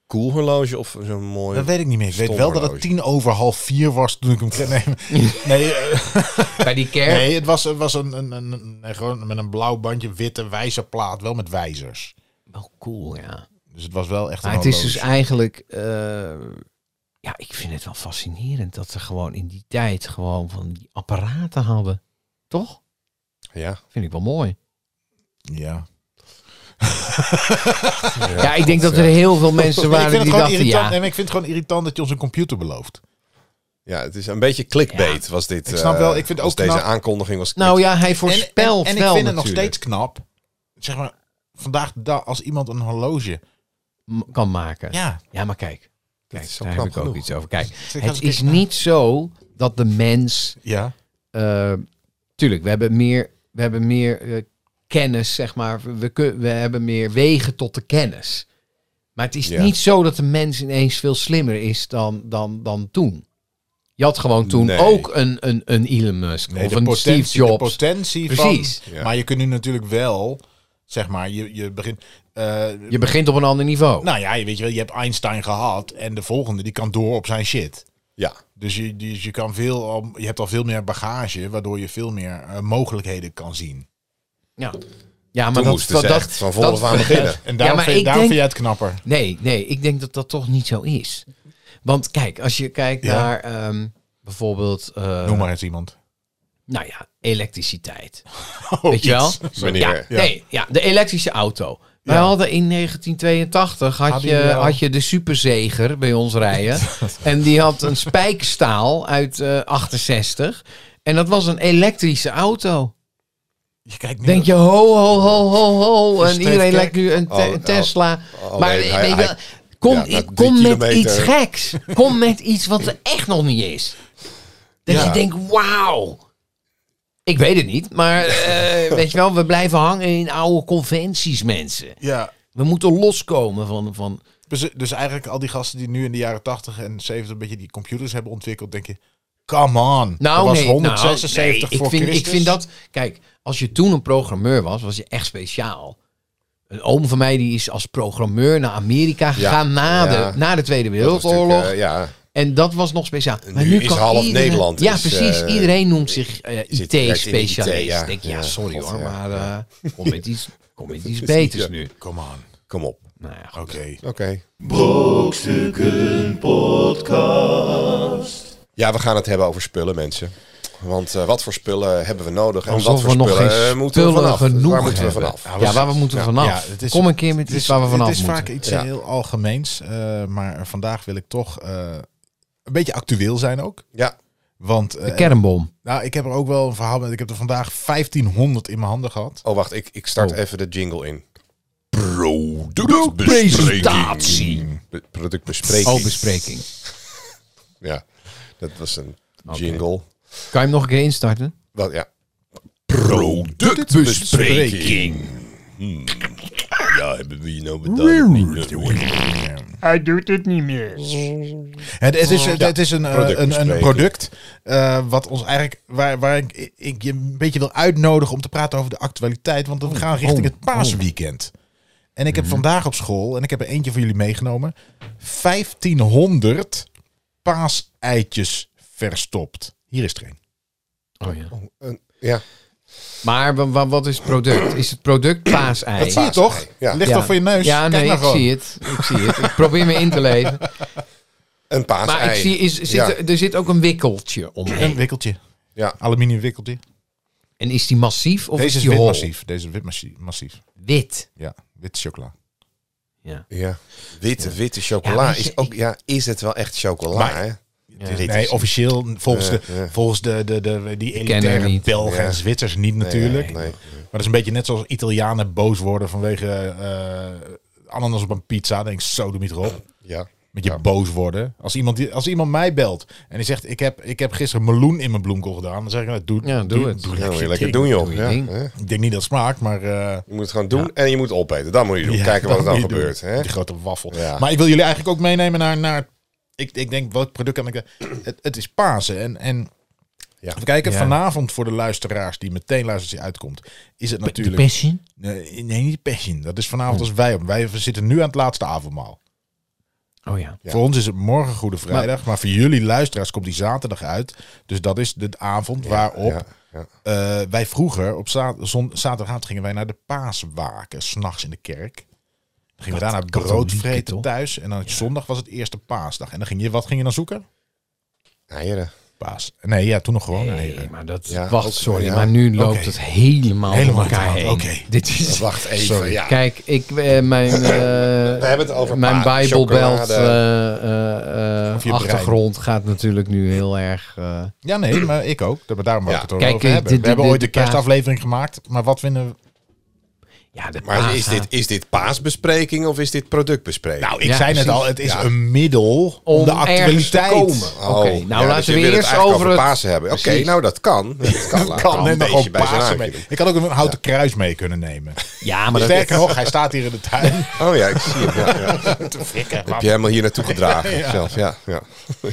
cool horloge of zo'n mooi... Dat weet ik niet meer. Ik weet Stom wel dat het horloge. tien over half vier was toen ik hem kreeg. Nee, nee, eh, Bij die kerk? nee het was, het was een, een, een, een- gewoon met een blauw bandje, witte wijzerplaat. Wel met wijzers. Wel cool, ja. Dus het was wel echt een Maar het is dus horloge. eigenlijk... eh, ja, ik vind het wel fascinerend dat ze gewoon in die tijd gewoon van die apparaten hadden. Toch? Ja. Vind ik wel mooi. Ja. Ja, ik denk dat er heel veel mensen Ik vind, waren het die gewoon dachten, irritant, ja, en ik vind het gewoon irritant dat je ons een computer belooft. ja, het is een beetje clickbait was dit. Ik snap eh, wel, ik vind het was ook knap. deze aankondiging was... nou ja, hij En, voorspelt en, en ik wel vind het nog natuurlijk. steeds knap. Zeg maar, vandaag de dag, als iemand een horloge... m- kan maken. Ja, Ja, maar kijk, Dit kijk is wel daar heb knap ik ook genoeg. iets over. Kijk, zeg, als het ik- is niet zo dat de mens... Ja, eh, tuurlijk, we hebben meer, we hebben meer eh, kennis, zeg maar. We, we kun- we hebben meer wegen tot de kennis. Maar het is Ja. niet zo dat de mens ineens veel slimmer is dan, dan, dan toen. Je had gewoon toen Nee. ook een, een, een Elon Musk nee, of de, een potentie, Steve Jobs. de potentie Precies. van... Ja. Maar je kunt nu natuurlijk wel, zeg maar, je, je begint... eh, Je begint op een ander niveau. nou ja, je weet je wel, je hebt Einstein gehad en de volgende die kan door op zijn shit. Ja, Dus je, die, je, kan veel, al- je hebt al veel meer bagage, waardoor je veel meer eh, mogelijkheden kan zien. Ja, ja maar toen dat, moesten dat, ze dat, echt van vooraf dat- aan beginnen. En daarom, maar vind, ik daarom vind denk- jij het knapper. Nee, nee, ik denk dat dat toch niet zo is. Want kijk, als je kijkt Ja. naar ehm, bijvoorbeeld, eh, Noem maar eens iemand. nou ja, elektriciteit. Oh, Weet je wel? iets. Ja, Meneer. Nee, ja, de elektrische auto. Wij Ja. hadden in 1982 had Hadden je, jullie al- had je de superzeger bij ons rijden. en die had een spijkstaal uit eh 68. En dat was een elektrische auto. Je kijkt nu Denk je, ho, ho, ho, ho, ho. En Versteed iedereen Kerk. lijkt nu een, te- Oh, een Tesla. oh, maar nee, weet hij- je hij- wel, kom, ja, na ik- kom drie met kilometer- iets geks. Kom met iets wat er echt nog niet is. Dat Ja. je denkt, wauw. Ik weet het niet, maar eh, weet je wel, we blijven hangen in oude conventies, mensen. Ja, We moeten loskomen van... van dus, dus eigenlijk al die gasten die nu in de jaren 80 en 70 een beetje die computers hebben ontwikkeld, denk je, come on. nou, dat was nee, 176 nou, nee, voor ik vind, Christus. ik vind dat... Kijk, als je toen een programmeur was, was je echt speciaal. Een oom van mij die is als programmeur naar Amerika gegaan na, ja. de, na de Tweede Dat was Wereldoorlog. natuurlijk, eh, ja, En dat was nog speciaal. Maar Nu is half Nederland Ja, is, precies. eh, iedereen noemt zich eh, zit- werkt in de IT-specialist. IT, ja. Ik denk, ja, Ja, sorry god, hoor, ja. maar eh, kom met iets, kom met iets Ja. beters nu. Come on. kom op. Nou ja, goed. Oké. Oké. Brokstukken podcast. Ja, we gaan het hebben over spullen, mensen. Want eh, wat voor spullen hebben we nodig? En wat Alsof voor we nog spullen eh, geen moeten we spullen vanaf? genoeg Waar moeten we hebben. vanaf? Ja, Ja, waar we moeten vanaf. ja, het is- Kom een keer met iets waar we vanaf Het is moeten. vaak iets Ja. heel algemeens. eh, maar vandaag wil ik toch eh, een beetje actueel zijn ook. Ja, Want eh, De kernbom. nou, ik heb er ook wel een verhaal met. Ik heb er vandaag 1500 in mijn handen gehad. oh wacht, ik, ik start Oh. even de jingle in. Presentatie. Be- Productbespreking. Mm. Oh, bespreking. Ja, dat was een Oké. jingle. Kan je hem nog een keer instarten? Wel, ja. Hmm. Ja, hebben we je nou bedacht? Niet nodig. Hij doet het niet meer. Het, het Oh. is, het, is een, eh, een, een productbespreking. product eh, wat ons eigenlijk, waar, waar ik, ik je een beetje wil uitnodigen om te praten over de actualiteit. Want Oh. we gaan richting het paasweekend. En ik heb Mhm. vandaag op school, en ik heb er eentje voor jullie meegenomen, 1500 paaseitjes verstopt. Hier is er een. Oh ja. Oh, een- Ja, Maar wa- wa- wat is het product? Is het product paasei? Dat Zie je toch? Ja. Ligt Ja. toch voor je neus? Ja, Kijk nee, nou ik gewoon. zie het. Ik zie het. Ik probeer me in te leven. een paasei. Maar ik zie, is, zit, Ja. er, er zit ook een wikkeltje Een omheen. wikkeltje. Ja. Aluminium wikkeltje. En is die massief of Deze is is die wit hol? massief. Deze is wit massie- massief. Wit. Ja, wit chocola. Ja. Ja. Witte, witte Ja, chocola. maar je- is, ook, ja, is het wel echt chocola? Maar- hè? Ja. Dit is- Nee, officieel volgens, de, Eh, eh. volgens de, de, de, die kennen elitaire niet. Belgen Ja. en Zwitsers niet natuurlijk. Nee, nee. Maar dat is een beetje net zoals Italianen boos worden vanwege eh ananas op een pizza. Denk ik, zo doe niet erop. Ja. Met je boos worden. Als iemand, die, als iemand mij belt en die zegt, ik heb, ik heb gisteren meloen in mijn bloemkool gedaan. Dan zeg ik, nou, doe, Ja, doe het. Ja, moet je je lekker ding. doen, joh. Doe je ja, ding. hè? Ik denk niet dat het smaakt, maar... eh, Je moet het gewoon doen en je moet opeten. Dan moet je doen. Ja, Kijken wat er dat dan moet je doen. gebeurt. Hè? Die grote waffel. Ja. Maar ik wil jullie eigenlijk ook meenemen naar... naar ik, ik denk, welk product kan ik... Het, het is Pasen. En, en Ja. even kijken, Ja. vanavond voor de luisteraars die meteen luisteren als die uitkomt, is het De natuurlijk... passion? Nee, nee, niet Passion. Dat is vanavond als wij op. Wij zitten nu aan het laatste avondmaal. Oh ja. Ja. Voor ons is het morgen Goede Vrijdag, maar, voor jullie luisteraars komt die zaterdag uit. Dus dat is de avond waarop Ja, ja. eh, wij vroeger op za zon- zaterdagavond gingen wij naar de paaswaken, s'nachts in de kerk. Dan gingen we daarna katholieke, brood vreten toch? thuis en dan zondag was het eerste paasdag. En dan ging je, wat ging je dan zoeken? Eieren. Paas. Nee, ja, toen nog gewoon Nee, eieren. maar dat... Ja, wacht, ook- sorry. ja. Maar nu loopt Oké. het helemaal, Helemaal door elkaar uit de heen. hand, oké. Dit is... Wacht even. Sorry. Ja. Kijk, ik, eh, mijn, eh, We hebben het over mijn pa- Bijbelbelt chocolade. eh, eh, eh, Of je achtergrond gaat natuurlijk nu heel erg... eh, Ja, nee, maar ik ook. Dat- maar Daarom wil ik Ja. het er Kijk, over eh, hebben. dit- we hebben dit- ooit een dit- kerstaflevering gemaakt, maar wat vinden we... ja, de Maar is paas- dit, is dit paasbespreking of is dit productbespreking? Nou, ik Ja, zei net precies. al, het is Ja. een middel om, de ergens te actualiteit komen. Oké, nou ja, dus laten je we wil het eerst eigenlijk over het... Pasen hebben. Oké, Precies. nou dat kan. Dat kan, laten we kan een en nog beetje op bij zijn Pasen haakje mee. doen. Ik had ook een houten kruis mee kunnen nemen. Ja, maar dat Sterker nog, hij staat hier in de tuin. Oh ja, ik zie hem. Ja, ja. te frikken. Heb je helemaal hier naartoe gedragen zelf? Ja, ja.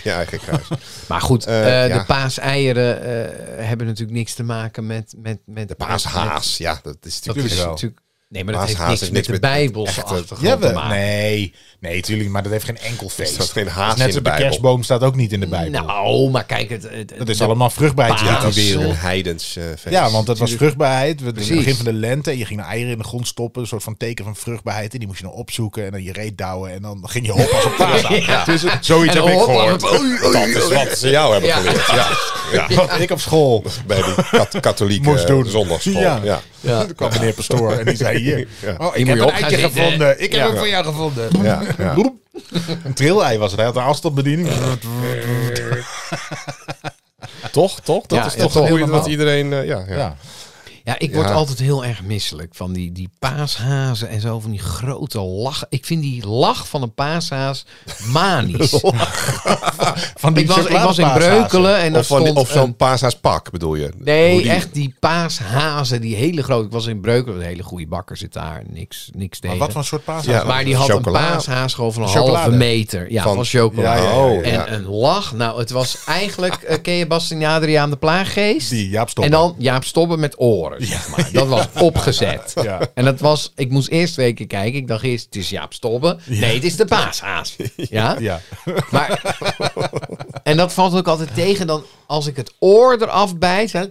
Je eigen kruis. Maar goed, Eh, eh, ja. de paaseieren eh, hebben natuurlijk niks te maken met... met, met De paashaas. Ja, dat is Dat natuurlijk is wel. natuurlijk... Nee, maar dat heeft Paashaas niks, heeft met niks de met- Bijbelse echt, eh, achtergrond te Jawel. maken. Nee, nee, tuurlijk, maar dat heeft geen enkel feest. staat geen Dat haas is Net in als de de Bijbel. kerstboom staat ook niet in de Bijbel. Nou, maar kijk, het, het, dat is allemaal vruchtbaarheid Paas. uit Dat de is een wereld. heidens eh, feest. Ja, want dat was vruchtbaarheid. We- Precies. Het begin van de lente. en Je ging de eieren in de grond stoppen. Een soort van teken van vruchtbaarheid. En die moest je nou opzoeken. En dan je reet douwen. En dan ging je hop als een paas aan. Ja. Dus, zoiets En heb ik hop, gehoord. hop, oei, oei, Dat is wat ze jou hebben Ja. geleerd. Ja. Ja. Wat ik op school Bij die kat- katholieke eh, moest doen. zondagschool. Ja. Ja. Ja. Toen kwam meneer Pastoor en die zei hier. Oh, ik moet heb je een op gaan eitje zitten. gevonden. Ik heb Ja. ook van jou gevonden. Ja, ja. Boep. Een trillei was het. Hij had een afstandsbediening. Toch, toch? Dat Ja, is ja, toch toch. hoe je- wat Helemaal. iedereen... eh, ja, ja. Ja. Ja, ik word Ja. altijd heel erg misselijk van die, die paashazen en zo van die grote lach. Ik vind die lach van een paashaas manisch. Van die ik, was, ik was in chocoladepaashazen. Breukelen en dan Of, van die- stond of zo'n een- paashaaspak bedoel je? Hoe Nee, eh, die- echt die paashazen, die hele grote. Ik was in Breukelen, een hele goede bakker zit daar, niks, niks Maar tegen. wat voor soort paas? Ja. Maar die had Chocola. een paashaas gewoon van een Chocolade. halve meter. Ja, van, Van- chocola. Ja, ja, ja, ja. En een lach. Nou, het was eigenlijk... eh, ken je Bastiaan Adriaan de Plaaggeest? Die Jaap Stomper. En dan Jaap Stobben met oren. Brothers. zeg maar. Dat was opgezet. Ja. En dat was, ik moest eerst twee keer kijken. Ik dacht eerst, het is Jaap Stobbe. Nee, het is de paashaas. Ja? Ja. Maar, en dat valt ook altijd tegen. Dan, als ik het oor eraf bijt, hè,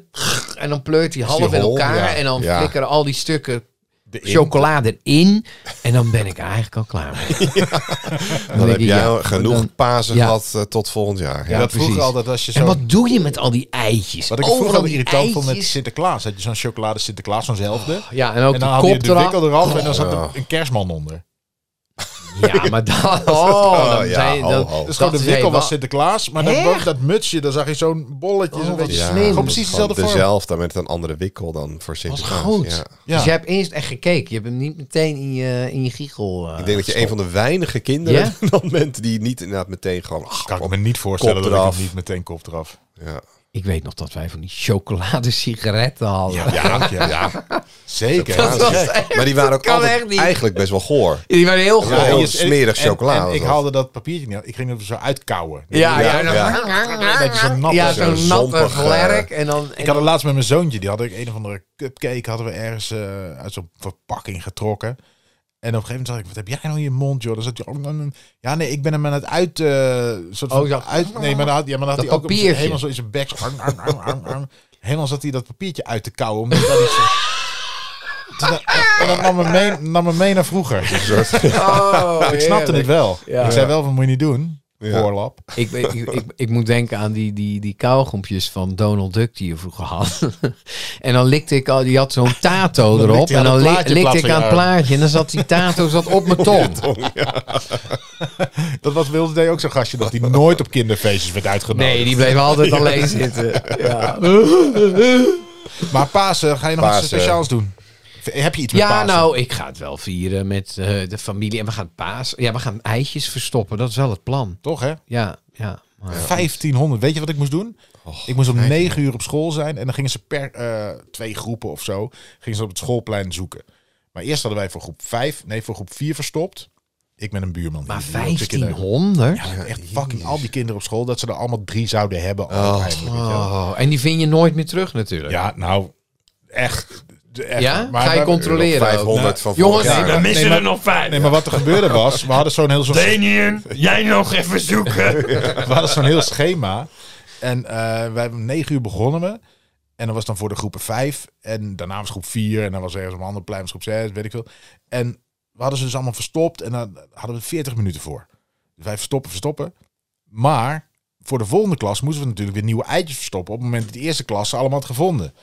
en dan pleurt die half in hol, elkaar. ja. En dan Ja. flikkeren al die stukken chocolade erin. En dan ben ik er eigenlijk al klaar mee. Dan Dan denk heb ik, jij ja, genoeg dan- Pasen ja. gehad eh, tot volgend jaar. Ja, dat vroeger precies. altijd als je En zo... wat doe je met al die eitjes? Wat ik Overal vroeger al die irritant vond met eitjes. Oh, Sinterklaas. Had je zo'n chocolade Sinterklaas, zo'nzelfde. Ja, en ook en dan de had je kop de eraf. wikkel eraf en dan zat Ja. er een kerstman onder. Ja, maar dat... Oh, dan ja, zijn- ho, dat- ho. Dus gewoon dat de is wikkel helemaal- was Sinterklaas, maar dan boven Echt? dat mutsje, dan zag je zo'n bolletje. Oh, zo'n wat beetje slim. Gewoon dat precies is gewoon dezelfde vorm. Dezelfde met een andere wikkel dan voor Dat is Sinterklaas. goed. Ja. Ja. Dus je hebt eerst echt gekeken. Je hebt hem niet meteen in je, in je giegel. eh, Ik denk dat je een gestopt. van de weinige kinderen Ja? dan bent die niet inderdaad meteen gewoon... ach, Kan ik op- me niet voorstellen Kop dat ik eraf. hem niet meteen kop eraf. ja. Ik weet nog dat wij van die chocolade sigaretten hadden. Ja, ja. Zeker. Dat was Ja, echt- Maar die waren ook kan altijd echt niet. eigenlijk best wel goor. Die waren heel Ja, goed. heel en je- smerig en- chocolade en was ik dat. haalde dat papiertje niet. Ik ging hem zo uitkouwen. Ja, ja, Ja, ja. Dat je zo'n natte- Ja, zo'n zo'n natte zompig, eh, glerk. En dan, en Ik had het laatst met mijn zoontje. Die had ik een of andere cupcake hadden we ergens eh, uit zo'n verpakking getrokken. En op een gegeven moment zag ik, wat heb jij nou in je mond, joh? Dan zat hij, oh, mm, ja nee, ik ben hem aan het uit, eh, soort van Oh, zo- uit, nee, maar dan had, ja, maar dan had Dat hij ook op zijn- papiertje. helemaal zo in zijn bek, zo, arm, arm, arm, arm, arm. helemaal zat hij dat papiertje uit te kauwen Omdat dat iets, Dus dat- en dat nam me, mee, nam me mee naar vroeger. Dus oh, Ik snapte het wel. Ja. Ik zei wel, van moet je niet doen, Ja. voorlap. Ik, weet- ik, ik, ik moet denken aan die, die, die kauwgompjes van Donald Duck die je vroeger had. en dan likte ik al, die had zo'n tato Dan erop. likte hij En aan het dan li- plaatje in likte plaats van ik aan het je arm. plaatje. En dan zat die tato zat op mijn tong. Dat was Wilde deed ook zo'n gastje, dat hij nooit op kinderfeestjes werd uitgenodigd. Nee, die bleef altijd alleen zitten. Ja, Maar Pasen, ga je nog Pasen. iets speciaals doen? V- Heb je iets met ja Pasen? nou, ik ga het wel vieren met eh, de familie. En we gaan paas. Ja, we gaan eitjes verstoppen. Dat is wel het plan. Toch, hè? Ja, ja. Maar, 1500. Weet je wat ik moest doen? ik moest om 9 uur op school zijn. En dan gingen ze per eh, twee groepen of zo... gingen ze op het schoolplein zoeken. Maar eerst hadden wij voor groep 5... nee, voor groep 4 verstopt. Ik met een buurman. maar Die- die ook zitten- 1500? Echt fucking al die kinderen op school... dat ze er allemaal drie zouden hebben. uiteindelijk, weet je wel. Oh, en die vind je nooit meer terug natuurlijk. Ja, nou... Echt. de- echt. Ja? Maar Ga je we- controleren? ook? Nou, 500 van vorig Jongens, jaar. nee, Ah, We maar- missen nee, maar- er nog vijf. Nee, maar wat er gebeurde was... we hadden zo'n heel... zo'n Lenian, jij nog even zoeken. we hadden zo'n heel schema. En eh, wij hebben om negen uur begonnen we. En dat was dan voor de groepen vijf. En daarna was groep vier. En dan was ergens op een ander plein was groep zes, weet ik veel. En we hadden ze dus allemaal verstopt. En daar hadden we veertig minuten voor. Dus wij verstoppen, verstoppen. Maar voor de volgende klas moesten we natuurlijk weer nieuwe eitjes verstoppen. Op het moment dat de eerste klas ze allemaal had gevonden.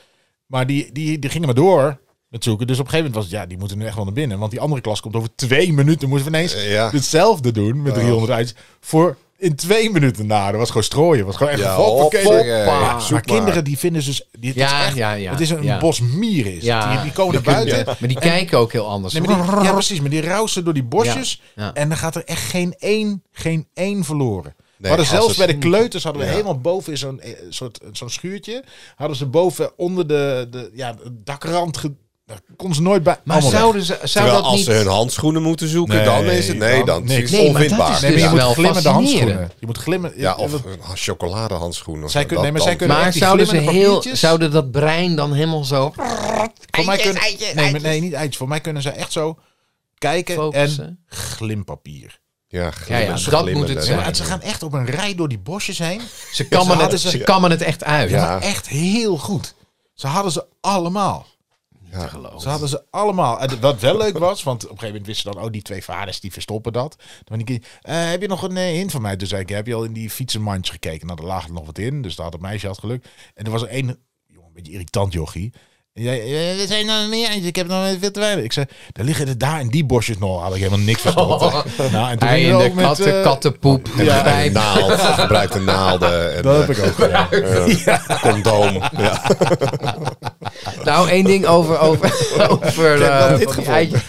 Maar die, die, die gingen maar door met zoeken. Dus op een gegeven moment was het, ja, die moeten nu echt wel naar binnen. Want die andere klas komt over twee minuten. Moesten we ineens Eh, ja. hetzelfde doen met 300 eitjes. Voor in twee minuten na. Dat was gewoon strooien. was gewoon echt Ja, een valpakket. hoppakee. Maar- Ja, maar, zoek maar. kinderen die vinden dus... Dit Ja, is echt, ja, ja, het is een ja. bos mier is. Ja, die, die komen naar buiten. Ja, Maar die kijken ook heel anders. Nee, maar die- ja, precies. Maar die rousen door die bosjes. Ja, ja. En dan gaat er echt geen één, geen één verloren. Nee, we hadden als zelfs het- bij de kleuters hadden we Ja. helemaal boven in zo'n eh, soort zo'n schuurtje. Hadden ze boven onder de, de ja, de dakrand. Ge, daar kon ze nooit bij. maar allemaal weg. zouden ze, zou Terwijl dat als niet... ze hun handschoenen moeten zoeken, Nee, dan is het... Nee, dan niks. is het Nee, maar dat onvindbaar. is Nee, maar dus je moet wel glimmende fascinerend. handschoenen. Je moet glimmen. Ja, of een ha- chocoladehandschoenen. of Zij zo, kunnen- dat nee, maar zij dan. kunnen- Maar echt die zouden ze glimmende heel, papiertjes? zouden dat brein dan helemaal zo Voor mij kunnen, nee, maar- nee, niet eitjes. Voor mij kunnen ze echt zo kijken focussen? en glimpapier. Ja, ja, glimmen, dat moet het glimmende. zijn. Maar het- ze gaan echt op een rij door die bosjes heen. Ze kammen, hadden het, ze- ze kammen het echt uit. Ja. Maar echt heel goed. Ze hadden ze allemaal. Te geloven. Ze hadden ze allemaal. En wat wel leuk was, want op een gegeven moment wisten dan, oh, die twee vaders die verstoppen dat. Dan ik, heb je nog een eh, hint van mij? Toen zei ik, heb je al in die fietsenmandjes gekeken? Nou, daar lag er nog wat in, dus daar had het meisje had geluk. En er was er één, jongen, een beetje irritant jochie. En jij, eh, er zijn nog meer eindjes, ik heb nog veel te weinig. Ik zei, daar liggen er daar in die bosjes nog, had ik helemaal niks verstopt. Nou, en toen Hij gingen in we de ook met, katten, eh, nou. kattenpoep, En ja, gebruikte naald, gebruikte naalden. En, Dat heb eh, ik ook gedaan. eh, Condoom. Ja. Nou, één ding over... over, over heb wel dit eh, van die gevonden. eitjes.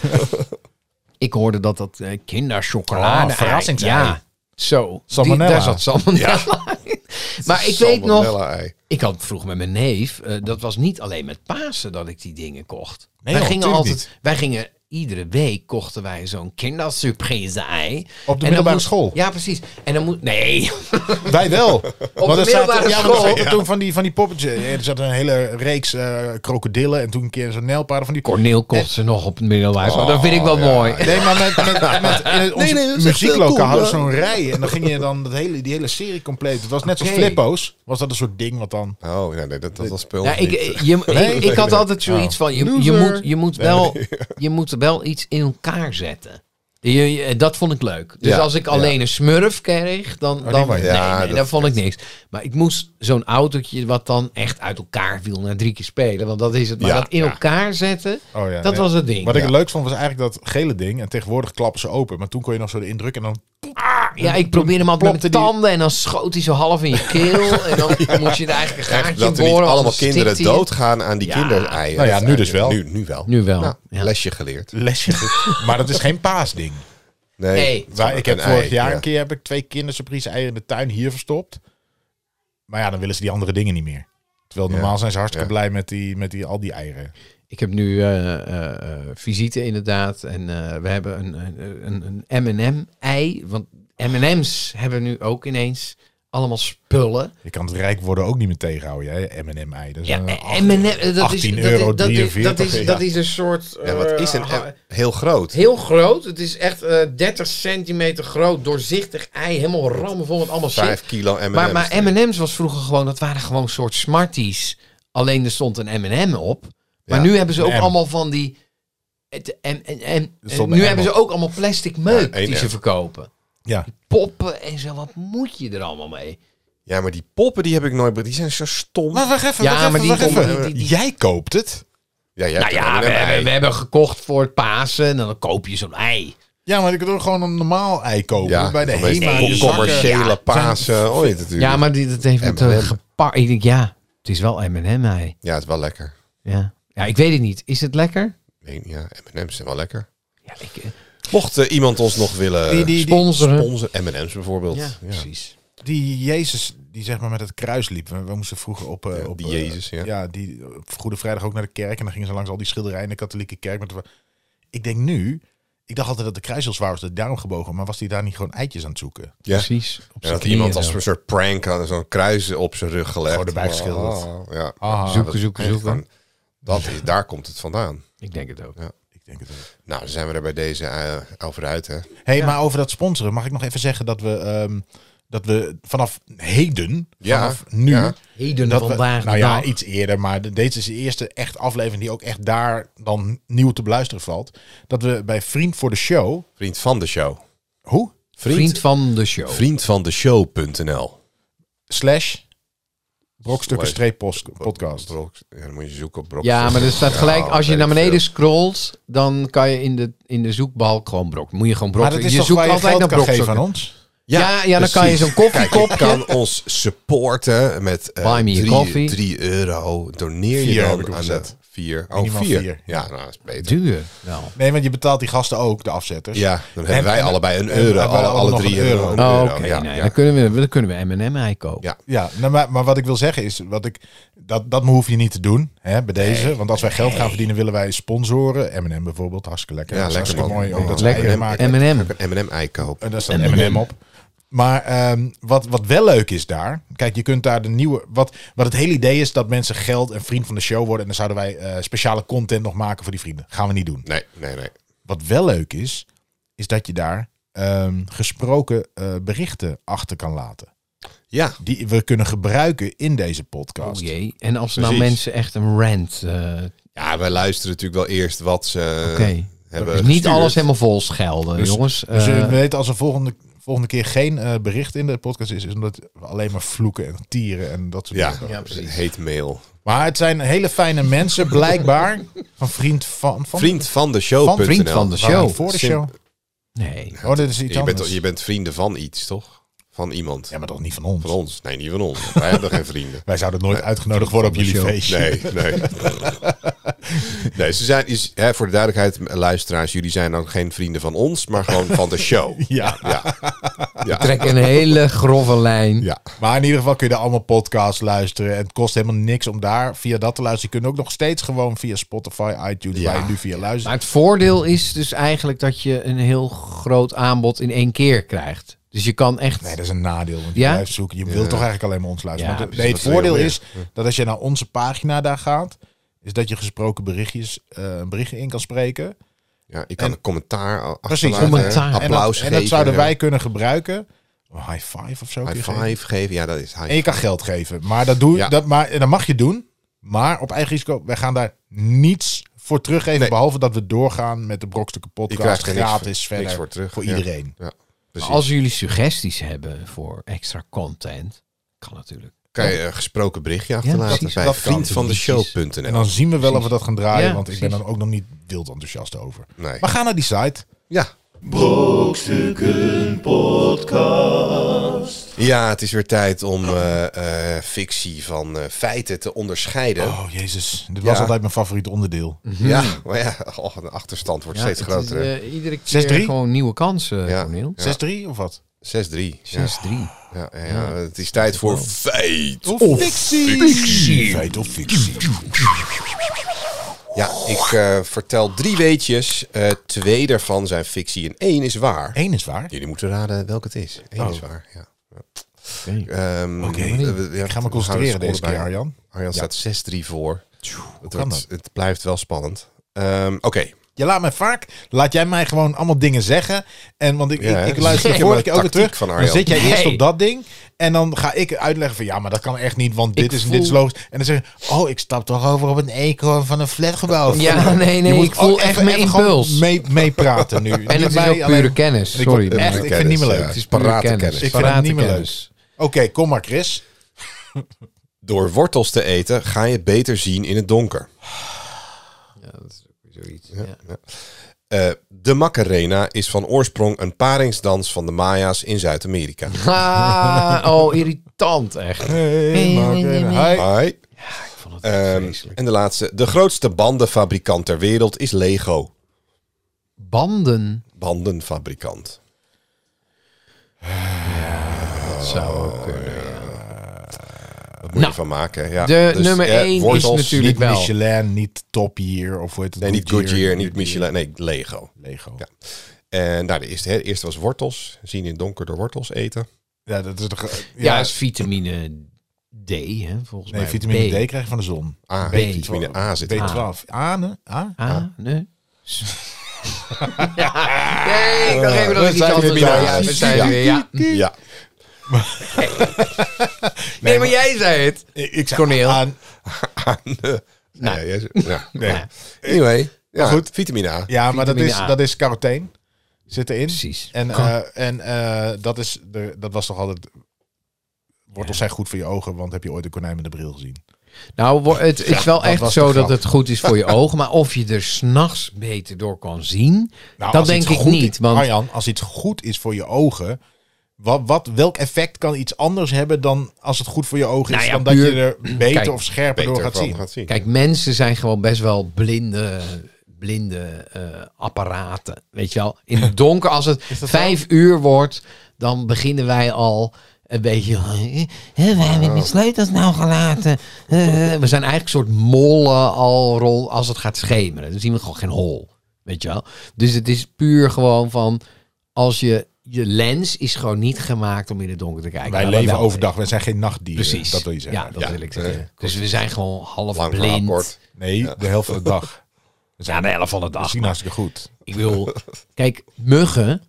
Ik hoorde dat dat eh kinderchocolade... Oh, verrassingsei. Ja, zo. Die, Salmonella. daar zat salmonella in. Maar ik weet nog... Salmonella-ei. Ik had vroeg met mijn neef, eh, dat was niet alleen met Pasen dat ik die dingen kocht. Nee, wij joh, gingen tuurlijk altijd, wij gingen iedere week kochten wij zo'n kindersurprise-ei. Op de En dan middelbare moest- school. Ja, precies. En dan moet... Nee. Wij wel. Want er middelbare zaten, ja, maar er school. zaten toen van die, van die poppetjes. ja, Er zat een hele reeks eh, krokodillen en toen een keer zo'n nijlpaarden van die... Corneel Eh, kocht ze nog op het middelbare Oh, school. dat vind ik wel mooi. Nee, maar met, met, met in het- ons Nee, nee, dat is echt muzieklokaal heel cool, hadden ja. ze zo'n rij. En dan ging je dan dat hele, die hele serie compleet. Het was net zoals Oké. Flippo's. Was dat een soort ding wat dan... Oh, ja, nee, dat, dat was spul. Ja, ik, niet. je, Nee, ik, nee, ik had nee. altijd zoiets van, je, je, Loser. moet, je, moet wel, je moet wel iets in elkaar zetten. Je, je- dat vond ik leuk. Dus Ja, als ik ja. Oh, alleen een smurf kreeg, dan, die dan was- nee, Ja, nee, dat- dat vond ik niks. Maar ik moest zo'n autootje wat dan echt uit elkaar viel na drie keer spelen. Want dat is het. Maar Ja, dat in elkaar zetten, Oh ja, dat nee. was het ding. Wat ik Ja. het leuk vond was eigenlijk dat gele ding. En tegenwoordig klappen ze open. Maar toen kon je nog zo de indruk en dan... ja, ik probeerde hem altijd met plopte die- mijn tanden en dan schoot hij zo half in je keel. En dan moest je er eigenlijk een gaatje dat er niet boren. allemaal anders stikt kinderen hij het. doodgaan aan die Ja. kindereieren. Nou ja, Dat nu is dus wel. Nu, nu wel. Nu wel. Nou, Ja. Lesje geleerd. Lesje. maar dat is geen paasding. Nee. Nee. het is Waar, ik heb een vorig ei, jaar ja. een keer heb ik twee kindersurprise eieren in de tuin hier verstopt. Maar ja, dan willen ze die andere dingen niet meer. Terwijl normaal Ja, zijn ze hartstikke ja. blij met, die, met die, al die eieren. Ik heb nu eh, eh, eh, visite inderdaad. En eh, we hebben een, een, een- een M&M-ei. Want M&M's hebben nu ook ineens allemaal spullen. Je kan het rijk worden ook niet meer tegenhouden. Jij M&M ei. Dat Dus, is Ja, eh, een acht- M&M, dat is, 18 dat is- euro dat is, dat is, 43, ja. dat is een soort... Ja, wat is een eh, ei? Heel groot. Heel groot. Het is echt eh, 30 centimeter groot, doorzichtig ei. Helemaal ramvol met allemaal shit. Vijf kilo M&M's. Maar, maar M&M's was vroeger gewoon, dat waren gewoon soort Smarties. Alleen er stond een M&M op. Maar Ja, nu hebben ze ook een M. allemaal van die... het- en, en, en, Er stond een nu M hebben ze op. ook allemaal plastic meuk Ja, één die ze M. verkopen. Ja. Poppen en zo, wat moet je er allemaal mee? Ja, maar die poppen die heb ik nooit... be- Die zijn zo stom. Maar wacht even, Ja, wacht maar even, die wacht komen- even. die- die- Jij koopt het? Ja, jij nou hebt ja, een we, M&M hebben, ei. we hebben gekocht voor het Pasen en dan koop je zo'n ei. Ja, maar ik wil gewoon een normaal ei kopen. Ja, bij de dat is HEMA. een die zakken. commerciële Pasen. Ooit natuurlijk. Ja, maar die, dat heeft me M&M. te gepakt. Ik denk, ja, het is wel M&M ei. Ja, het is wel lekker. Ja. ja, ik weet het niet. Is het lekker? Nee, ja, M&M's zijn wel lekker. Ja, ik, eh, Mocht eh, iemand ons nog willen Die- die- sponsoren. sponsoren, M&M's bijvoorbeeld. ja, Ja, precies. die Jezus, die zeg maar met het kruis liep. We, we moesten vroeger op... eh, Ja, op die eh, Jezus, ja. die op Goede Vrijdag ook naar de kerk. En dan gingen ze langs al die schilderijen in de katholieke kerk. Met de- ik denk nu... Ik dacht altijd dat de kruis heel zwaar was, de daarom gebogen. Maar was die daar niet gewoon eitjes aan het zoeken? Ja. Precies. Op Ja, z'n dat iemand knieën als zo. een soort prank had zo'n kruis op zijn rug gelegd. Gewoon erbij geschilderd. Oh, ja. Ah, Zoeken, zoeken, Echt zoeken. gewoon, dat is, daar komt het vandaan. Ik denk het ook. Ik denk het wel. Nou, dan zijn we er bij deze eh, over uit, hè? Hey, Ja. maar over dat sponsoren mag ik nog even zeggen dat we, ehm, dat we vanaf heden, Ja, vanaf nu, ja. Heden dat we, vandaag. nou ja, dag. iets eerder, maar de- deze is de eerste echt aflevering die ook echt daar dan nieuw te beluisteren valt, dat we bij vriend voor de show, Vriend van de show. hoe? vriend, van de show. vriend van de show.nl. Slash brokstukken streep post- podcast. Brok- ja, dan moet je zoeken op Brok. Ja, maar er staat Ja, gelijk, als je weet naar ik beneden veel. scrolt, dan kan je in de, in de zoekbalk gewoon brok. Moet je gewoon brok. Maar dat is je toch zoekt waar je altijd geld naar kan brok. geven aan ons? Ja, ja, dan kan je zo'n koffiekop. Kijk, je kan ons supporten met eh, Buy me a drie- coffee. 3 euro. Doneer je Vier dan heb ik aan opgezet. de 4. Oh, Minimaal 4. vier. Ja, nou, dat is beter. Duur. Nou. Nee, want je betaalt die gasten ook, de afzetters. Ja, dan hebben En- wij en- allebei een en we euro. hebben Alle, Nou. allemaal alle nog drie een een euro. euro. Een Oh, euro, Oké, ja, nee, ja. Dan, kunnen we, dan kunnen we M&M ei kopen. Ja. Ja, nou, maar, maar wat ik wil zeggen is, wat ik, dat, dat hoef je niet te doen hè, bij deze. want als wij geld gaan verdienen, willen wij sponsoren. M&M bijvoorbeeld, hartstikke lekker. Ja, Dat is lekker, hartstikke man. mooi. Ook Ja, dat ze lekker. eieren maken. M&M. Een M&M ei kopen. En daar staat M&M op. Maar ehm, wat, wat wel leuk is daar, kijk, je kunt daar de nieuwe... Wat, wat het hele idee is dat mensen geld en vriend van de show worden. En dan zouden wij eh, speciale content nog maken voor die vrienden. Gaan we niet doen. Nee, nee, nee. Wat wel leuk is, is dat je daar ehm, gesproken eh, berichten achter kan laten. Ja, Die we kunnen gebruiken in deze podcast. Oh jee. En als nou Precies. mensen echt een rant. eh, ja, wij luisteren natuurlijk wel eerst wat ze Oké. hebben Dus niet gestuurd. alles helemaal vol schelden, Dus- jongens. Dus Eh, we weten als er volgende, volgende keer geen eh, bericht in de podcast is, is omdat we alleen maar vloeken en tieren en dat soort Ja, dingen. Ja, precies. precies. heet mail. Maar het zijn hele fijne mensen, blijkbaar. Van vriend van. van Vriend van de show. Van vriend van de Waarom show. niet voor de Sim- show. Nee. Oh, dit is iets Je bent, anders. je bent vrienden van iets, toch? Van iemand. Ja, maar toch niet van ons. Van ons. Nee, niet van ons. Wij hebben geen vrienden. Wij zouden nooit uitgenodigd worden op van de jullie show. feestje. Nee, nee. Nee, ze zijn, is, hè, voor de duidelijkheid, luisteraars, jullie zijn ook geen vrienden van ons, maar gewoon van de show. Ja. Ja. Ja. Trek een hele grove lijn. ja. Maar in ieder geval kun je daar allemaal podcasts luisteren. En het kost helemaal niks om daar via dat te luisteren. Je kunt ook nog steeds gewoon via Spotify, iTunes, Ja. waar je nu via luistert. Maar het voordeel is dus eigenlijk dat je een heel groot aanbod in één keer krijgt. Dus je kan echt. Nee, dat is een nadeel. Want je Ja? blijft zoeken. Je wilt toch eigenlijk alleen maar ons luisteren. Ja, Maar de- precies, nee, het dat wil je voordeel wel is dat als je naar onze pagina daar gaat, is dat je gesproken berichtjes, eh, berichten in kan spreken. Ja, je kan En- een commentaar achterlaten. Commentaar. hè, Applaus en dat, en geven. dat zouden ja. wij kunnen gebruiken. Een High five of zo. kun je High geven. five geven. Ja, dat is high En je kan geld geven. Maar dat, doe, Ja. dat, maar, en dat mag je doen. Maar op eigen risico, wij gaan daar niets voor teruggeven. Nee. Behalve dat we doorgaan met de brokstukken Je podcast. krijgt er niks Gratis voor- verder niks voor terug. Ja. iedereen. Precies. als jullie suggesties hebben voor extra content, kan natuurlijk. kan je een gesproken berichtje Ja, achterlaten precies. bij Dat kan. En vriendvandeshow.nl. dan zien we wel of we dat gaan draaien. Ja, want ik ben precies. dan ook nog niet wild enthousiast over. Nee. Maar ga naar die site. Ja. podcast. Ja, het is weer tijd om eh, eh, fictie van eh, feiten te onderscheiden. Oh jezus, dit Ja. was altijd mijn favoriet onderdeel. Ja, maar ja, oh, de achterstand wordt Ja, steeds het groter. is, hè. eh, iedere keer 6-3? gewoon nieuwe kansen, Ja. Cornel. 6-3 of wat? 6-3. Ja, 6-3. ja, ja, het is tijd voor feit. Of fictie. Feit of fictie. Ja, ik eh, vertel drie weetjes. Eh, twee daarvan zijn fictie en één is waar. Eén is waar. Jullie moeten raden welke het is. Eén Oh. is waar, ja. Oké. Ehm, Oké. eh, we- we- ja, Ik ga me we concentreren deze houden de keer, score bij. Arjan. Arjan staat 6-3 voor. Het, kan wordt- het blijft wel spannend. Ehm, Oké. Je laat mij vaak, laat jij mij gewoon allemaal dingen zeggen. En want ik, Ja, hè? ik, ik luister Zeg de je vorige maar keer ook weer tactiek terug. van dan Arjan. zit jij eerst Nee. op dat ding. En dan ga ik uitleggen van ja, maar dat kan echt niet, want dit Ik is en voel- dit is logisch. En dan zeg je, oh, ik stap toch over op een eekhoorn van een flatgebouw. Ja, nee, nee, ik voel echt mijn impuls. meepraten nu. En het is ook pure kennis. Ik Sorry. word- maar echt, ik vind het niet meer leuk. Het Het is is pure parate kennis. kennis. Ik vind Parate het niet meer kennis. Oké, kom maar Chris. Door wortels te eten ga je beter zien in het donker. Ja, dat is ook weer zoiets. Ja. Eh, de Macarena is van oorsprong een paringsdans van de Maya's in Zuid-Amerika. Ah, oh, irritant echt. Hey, Hi. Hoi. Ik vond het echt Ehm, vreselijk. en de laatste. De grootste bandenfabrikant ter wereld is Lego. Banden Bandenfabrikant. zou ook kunnen. ja. Dat moet Nou, je van maken. Ja. de Dus, nummer eh, één is wortels, natuurlijk- Niet Tuurlijk wel. Michelin, niet Top Gear of hoe heet het? Nee, niet Goodyear, niet Michelin. Nee, Lego. Lego. Ja. En nou, de eerste, hè, de eerste was wortels. Zien in het donker door wortels eten. Ja, dat is toch... Ja, is vitamine D, hè, volgens Nee, mij. vitamine D krijg je van de zon. A, B. vitamine A zit er. B12. A, ne? A? A, Ah, nee. ja, nee, ik dacht even dat We ik iets zijn anders weer zei. bij Ja, ons. we zijn er Ja. weer, ja. Nee, Ja. maar jij zei het. Ik zei Corneel. aan- Nou, Nou. ja, jij- ja. Nee. Ja, Anyway, ja, goed. goed. vitamine A. Ja, maar dat is, Vitamine A. dat is carotene. Zit erin. precies. En, Kan. eh, en eh, dat, is de, dat was toch altijd... Wortels zijn goed voor je ogen, want heb je ooit een konijn met een bril gezien? Nou, wo- het is wel dat echt was de zo grap. dat het goed is voor je ogen. Maar of je er s'nachts beter door kan zien, Nou, dat als denk iets ik goed niet. is- Oh Want Arjan, als iets goed is voor je ogen... Wat, wat, welk effect kan iets anders hebben dan als het goed voor je ogen is? Nou ja, dan dat puur- je er beter Kijk, of scherper Beter door gaat van zien. gaat zien. Kijk, mensen zijn gewoon best wel blinde, blinde eh, apparaten. Weet je wel, in het donker, als het vijf uur wordt, dan beginnen wij al een beetje. "Hè, hè, waar hebben we de sleutels nou gelaten? Eh, eh." we zijn eigenlijk een soort mollen al rol als het gaat schemeren. Dan zien we gewoon geen hol. Weet je wel. Dus het is puur gewoon van als je. Je lens is gewoon niet gemaakt om in het donker te kijken. Nou, Wij Maar leven wel- overdag, wij zijn geen nachtdieren. Precies. Dat wil je zeggen. Ja, dat Ja, wil ik eh, zeggen. dus we zijn gewoon half Lang verhaal blind. kort. Nee, de helft van de dag. We Ja, zijn de helft van de dag. misschien hartstikke goed. Ik wil. Kijk, muggen.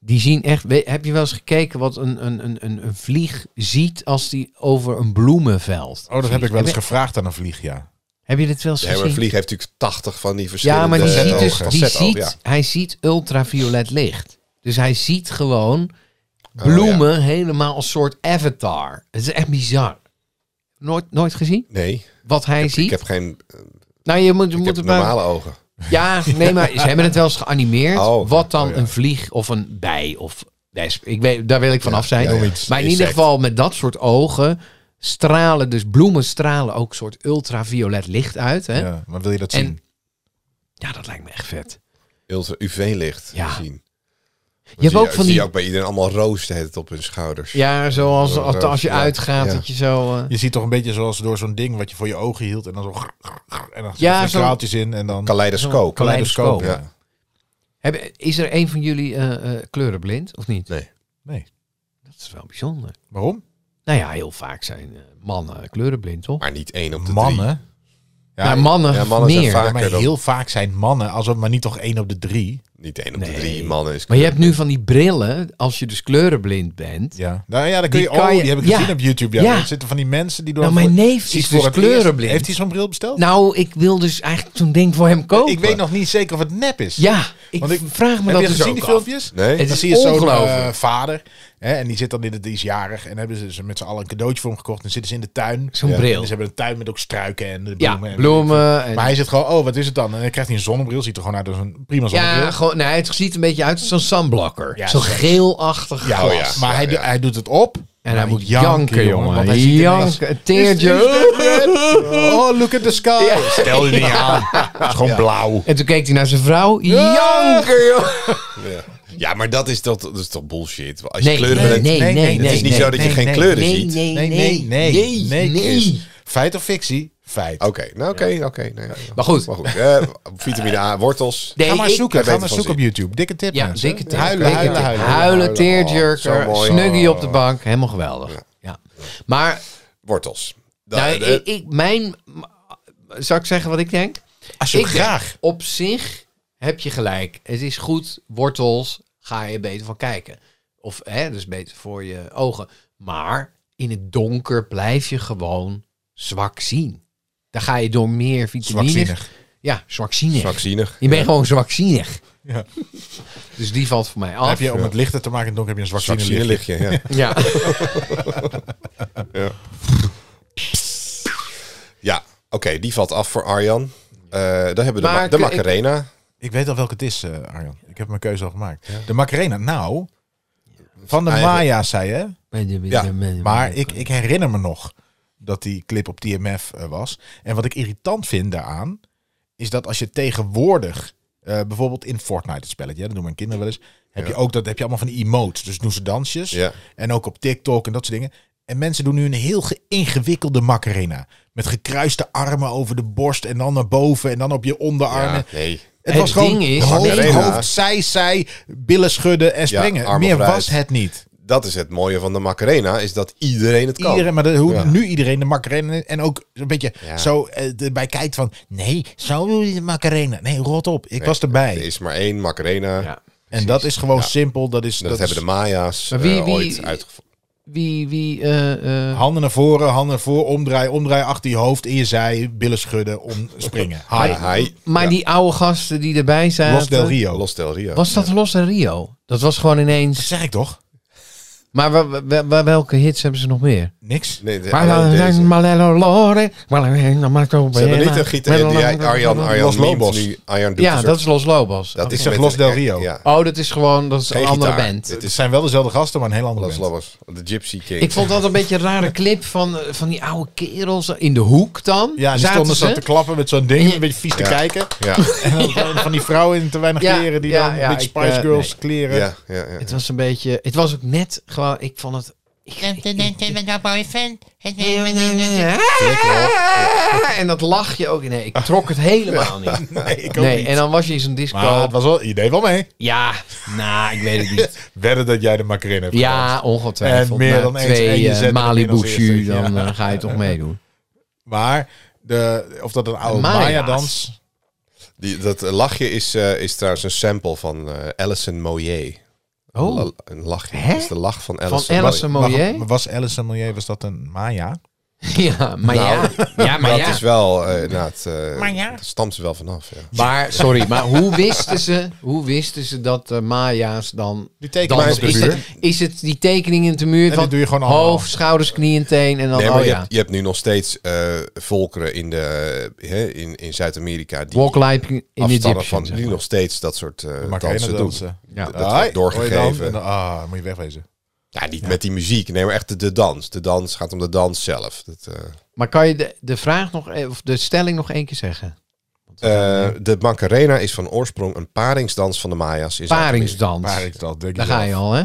Die zien echt. we- heb je wel eens gekeken wat een, een, een, een, een vlieg ziet als die over een bloemenveld? Oh, dat heb ik wel eens Heb, gevraagd aan een vlieg, ja. je- heb je dit wel eens Ja, maar een gezien? vlieg heeft natuurlijk 80 van die verschillende... Ja, maar die ziet dus. ogen. Die Facetten, ziet, eh, ja. Hij ziet ultraviolet licht. Dus hij ziet Oh, gewoon bloemen helemaal als soort avatar. Het is echt bizar. Nooit, nooit gezien? Nee, Wat dus- hij ziet? ik heb geen... nou, je moet, je Ik moet heb het maar- normale ogen. Ja, nee, maar ze hebben het wel eens geanimeerd. Oh, wat dan oh ja. een vlieg of een bij of wesp. Ik weet, daar wil ik vanaf zijn. ja, ja. Maar in ieder Insect. geval met dat soort ogen stralen, dus bloemen stralen ook een soort ultraviolet licht uit. Hè? ja. Maar wil je dat En- zien? Ja, dat lijkt me echt vet. Ultra UV-licht Ja. zien. Je hebt ook van zie die- ook bij iedereen allemaal roos de hele tijd op hun schouders. Ja, zoals als, als je Oh, Ja, uitgaat, ja. dat je zo... eh, Je ziet toch een beetje zoals door zo'n ding wat je voor je ogen hield en dan zo. grrr, grrr, grrr, En dan Ja, ja, zo- kraaltjes in en dan. Kaleidoscoop. Kale- Kaleidoscoop. Kaleidoscoop, Ja. hebben- is er een van jullie eh, eh, kleurenblind, of niet? Nee. Nee. Dat is wel bijzonder. Waarom? Nou ja, heel vaak zijn eh, mannen kleurenblind, toch? maar niet één op de drie. Mannen. Ja, mannen, ja, mannen zijn meer. vaak- Ja, maar Vaker dan- heel vaak zijn mannen, als het maar niet toch één op de drie. Niet één op de Nee. drie mannen. Is Maar je hebt nu van die brillen, als je dus kleurenblind bent. Ja. Nou ja, dan kun Die je. kan oh, je- die heb ik ja. gezien op YouTube. Ja, Ja. Er zitten van die mensen die door. Nou, voor- mijn neef ziet is voor dus het eerst- kleurenblind. Heeft hij zo'n bril besteld? Nou, ik wil dus eigenlijk zo'n ding voor hem kopen. ik weet nog niet zeker of het nep is. Ja, ik, Want ik- vraag me heb dat je dus gezien ook die af. filmpjes? Nee? Het En dan is zie je zo'n ongelooflijk. eh, vader. Hè, en die zit dan in het, die is jarig. En hebben ze dus met z'n allen een cadeautje voor hem gekocht. En zitten ze in de tuin. Zo'n Ja. En bril. ze hebben een tuin met ook struiken en de Ja, bloemen. en- bloemen. En, Maar hij zit gewoon, oh, wat is het dan? En dan krijgt hij een zonnebril. Ziet er gewoon uit als een prima zonnebril. ja, gewoon, nee, het ziet een beetje uit als zo'n sunblocker. Ja, zo'n zeker. geelachtig Ja, glas. oh ja. maar hij, doet- hij doet het op. En hij Maar moet janken, jongen. want hij ziet ineens- janken, een teertje. Oh, look at the sky. Stel je niet aan. Het is gewoon blauw. En toen keek hij naar zijn vrouw. Ja. Janken, joh. Ja. ja, maar dat is, toch dat is toch bullshit. Als je Nee, nee, kleuren nee, bent- nee, nee, nee, nee. het is niet zo dat je nee, geen nee, kleuren nee, ziet. Nee, Nee, nee, nee. Nee, nee. Chris. Feit of fictie? Feit. Oké, nou oké, oké. nee. Maar goed. Maar goed, eh, vitamine A, wortels. Nee, Ga maar ik- Daar zoeken. Ga weten maar van zoeken op zien. YouTube. Dikke tip, Ja, mensen. dikke tip. Huilen, Dikke huilen, tip. huilen. Huilen, Oh, tearjerker, zo mooi. snuggie Oh. op de bank. Helemaal geweldig. Ja. Maar Wortels. nou, Nou, eh, ik, ik- mijn... Zou ik zeggen wat ik denk? Alsjeblieft, Ik denk, graag. op zich heb je gelijk. Het is goed, wortels, ga je beter van kijken. Of hè, dus beter voor je ogen. Maar in het donker blijf je gewoon zwak zien. Dan ga je door meer vitamine. Zwakzinnig. Ja, zwakzinnig. zwakzinnig. Je bent gewoon zwakzinnig. Ja. Dus die valt voor mij Dan af. Heb je, om het lichter te maken, in het donker heb je een zwak Zwakzinnig licht. lichtje, ja. Ja. Ja, oké, die valt af voor Arjan. Eh, dan hebben we de, Maar ma- de ik- Macarena. Ik weet al welke het is, eh, Arjan. Ik heb mijn keuze al gemaakt. De Macarena. Nou, van de Eigen- Maya zei hè. Ja, Maar ik, ik herinner me nog dat die clip op TMF eh, was. En wat ik irritant vind daaraan, is dat als je tegenwoordig, eh, bijvoorbeeld in Fortnite het spelletje, hè, dat doen mijn kinderen wel eens, heb je ook dat heb je allemaal van die emotes. Dus doen ze dansjes. Ja. En ook op TikTok en dat soort dingen. En mensen doen nu een heel ge- ingewikkelde macarena. Met gekruiste armen over de borst en dan naar boven en dan op je onderarmen. ja, nee. Het, Het was gewoon ding is- hoofd, Macarena. hoofd, zij, zij, billen schudden en springen. armen Meer vooruit. was het niet. Dat is het mooie van de Macarena, is dat iedereen het kan. Iedereen, maar dat- hoe Ja. nu iedereen de Macarena en ook een beetje Ja. zo eh, erbij kijkt van... Nee, zo doe je de Macarena. Nee, rot op. Ik was erbij. Er is maar één Macarena. Ja. en dat is gewoon simpel. Dat is, Dat, dat hebben is de Maya's Maar wie- eh, wie- ooit uitgevonden. Wie, wie, eh, eh, handen naar voren, handen naar voren, omdraai, omdraai achter je hoofd, in je zij, billen schudden, om springen. Hi. Hi. maar die oude gasten die erbij zaten. Los del Rio. Los Del Rio. Was dat Los en Rio? Dat was gewoon Dat ineens. zeg ik toch? Maar wa- wa- wa- wa- welke hits hebben ze nog meer? Niks? Nee, de- Maar alleen dan deze. zijn Malelo Lore, Malelo Marco Ze hebben Bena, niet een gitaar die Malelo- Arjan, Arjan Los meent Lobos. nu. Arjan doet Ja, een dat soort- is Los Lobos. dat Oké. is zeg met Los een- Del Rio. Ja, Oh, dat is gewoon, dat is een Geen andere gitaar. band. Het Het is zijn wel dezelfde gasten, maar een heel ander Los Lobos. De Gypsy King. Ik vond dat een beetje een rare clip van, eh, van die oude kerels in de hoek dan. Ja, en die Zaten stonden zo ze? te klappen met zo'n ding, een beetje vies te Ja. kijken. Ja, En dan van- van die vrouwen in te weinig Ja, kleren, die ja, dan ja, een beetje ik, Spice eh, Girls kleren. ja, ja. ja. Het was een beetje, het was ook net gewoon, ik vond het... En dat lachje ook. Nee, ik trok het helemaal niet. Nee, ik ook Nee, niet. en dan was je in zo'n disco. Maar het was wel, je deed wel mee. Ja, nou, ik weet het niet. Wedden dat jij de Macarena hebt Ja, ongetwijfeld. En meer Na dan eens en twee je eh, zet hem in Malibu als eerste, Shoe, ja. dan eh, ga je toch meedoen. Maar de, of dat een oude Maya's. Maya-dans. Die, dat eh, lachje is, eh, is trouwens een sample van eh Alison Moyet. Oh. La- een lachje. Hè? Dat is de lach van Alison Van Alice Moyet. Moyer? Was Alice en Milieu, was dat een Eh, Maya? Ja, maar Nou, ja. Ja, maar dat ja. is wel, eh inderdaad, eh, Maar ja. dat stamt ze wel vanaf. Ja. Maar, sorry, maar hoe wisten ze, hoe wisten ze dat de Maya's dan... Die dan tekenaar is op de is, dat- het, muur. is het die tekening in de muur dat van doe je gewoon allemaal. hoofd, schouders, knieën, teen en dan... Nee, maar oh je, ja, hebt, je hebt nu nog steeds eh, volkeren in, de, hè, in, in Zuid-Amerika die walk like in de afstammen van, Egyptian. zeg die maar. nog steeds dat soort eh dansen Macarena doen. dansen. Ja. Dat Hoi, wordt hoi dan. doorgegeven. En dan- Ah, moet je wegwezen. Ja, niet met die muziek. Nee, maar echt de, de dans. De dans gaat om de dans zelf. Dat, eh, Maar kan je de, de vraag nog, e- of de stelling nog één keer zeggen? Want, Eh, de Macarena is van oorsprong een paringsdans van de Maya's. In Zuid-Amerika. Paringsdans. waar ik dat denk Daar je ga wel. je al, hè?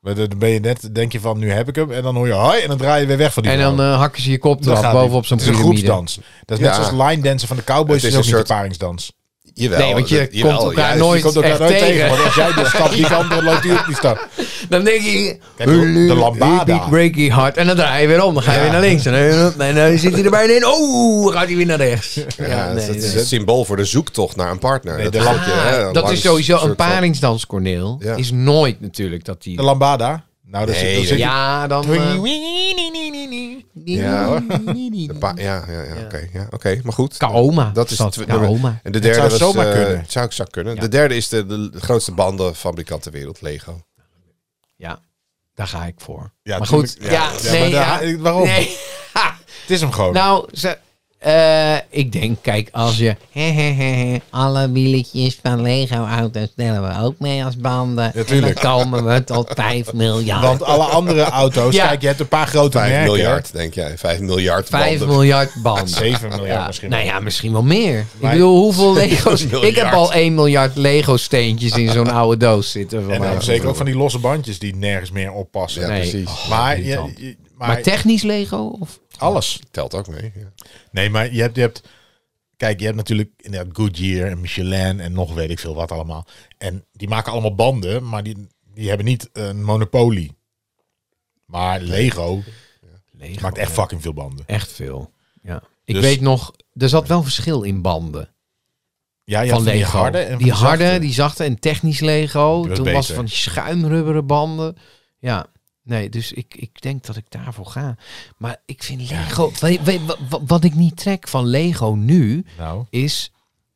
Maar dan ben je net, denk je van, nu heb ik hem. En dan hoor je hoi en dan draai je weer weg van die En vrouw. dan eh, hakken ze je kop Dan eraf gaat die- bovenop zo'n Het is een piramide. groepsdans. Dat is Ja. net zoals line dansen van de cowboys. Het Het is is ook een niet de soort- paringsdans. Jawel, Nee, want je dat- jawel, komt elkaar juist. nooit je komt elkaar echt nooit tegen. tegen. Want als jij de stap die kant, dan loopt hij op die stap. Dan denk je, Kijk, de lambada. Big breaky hard. En dan draai je weer om. Dan ga je weer naar links. En dan, en dan zit hij er bijna in. Oh, gaat hij weer naar rechts. Ja, Ja, nee, dat is nee. het symbool voor de zoektocht naar een partner. Nee, dat de is lamp- dat je, Ah, hè, dat langs is sowieso een soort van- paringsdans, Corneel. Ja. Is nooit natuurlijk dat die... De lambada. Nou, dat Nee, zit, dat zit Ja, dan... eh, Ja, hoor. De pa- ja, ja, ja, oké. ja, oké, Maar goed. Kaoma. Dat is zat, het tw- Kaoma. En de derde zou was, zomaar eh, kunnen. het zou ik zou kunnen. Ja. De derde is de, de grootste bandenfabrikant ter wereld, Lego. Ja, daar ga ik voor. Ja, maar goed. tuurlijk, ja, ja. Ja, nee, maar daar- ja. waarom? Nee. Ha. Het is hem gewoon. Nou, ze- eh, ik denk, kijk, als je... alle wieletjes van Lego-auto's stellen we ook mee als banden. tuurlijk. En dan komen we tot 5 miljard. Want alle andere auto's, Ja. kijk, je hebt een paar grote 5 merken. miljard, denk jij. 5 miljard 5 banden. miljard banden. 7 miljard Ja, misschien. nou wel. ja, misschien wel meer. Maar- ik bedoel, hoeveel Lego's... ik heb miljard. al 1 miljard Lego-steentjes in zo'n oude doos zitten. Van en mij. dan zeker ook van die losse bandjes die nergens meer oppassen. Ja, Nee. Oh, precies. Maar, je, irritant. je- maar, Maar technisch Lego? Of? alles. Telt ook mee. Ja. Nee, maar je hebt, je hebt... Kijk, je hebt natuurlijk inderdaad Goodyear en Michelin en nog weet ik veel wat allemaal. En die maken allemaal banden, maar die, die hebben niet een monopolie. Maar Lego Lego, maakt echt fucking veel banden. Echt veel. Ja. Ik Dus- weet nog, er zat wel verschil in banden. Ja, je van had Lego. die harde en van die harde, zachte. die zachte en technisch Lego. Die was Toen beter. was het van die schuimrubberen banden. Ja, nee, dus ik, ik denk dat ik daarvoor ga. Maar ik vind Lego... Weet- weet- wa- wa- wat ik niet trek van Lego nu, Nou. is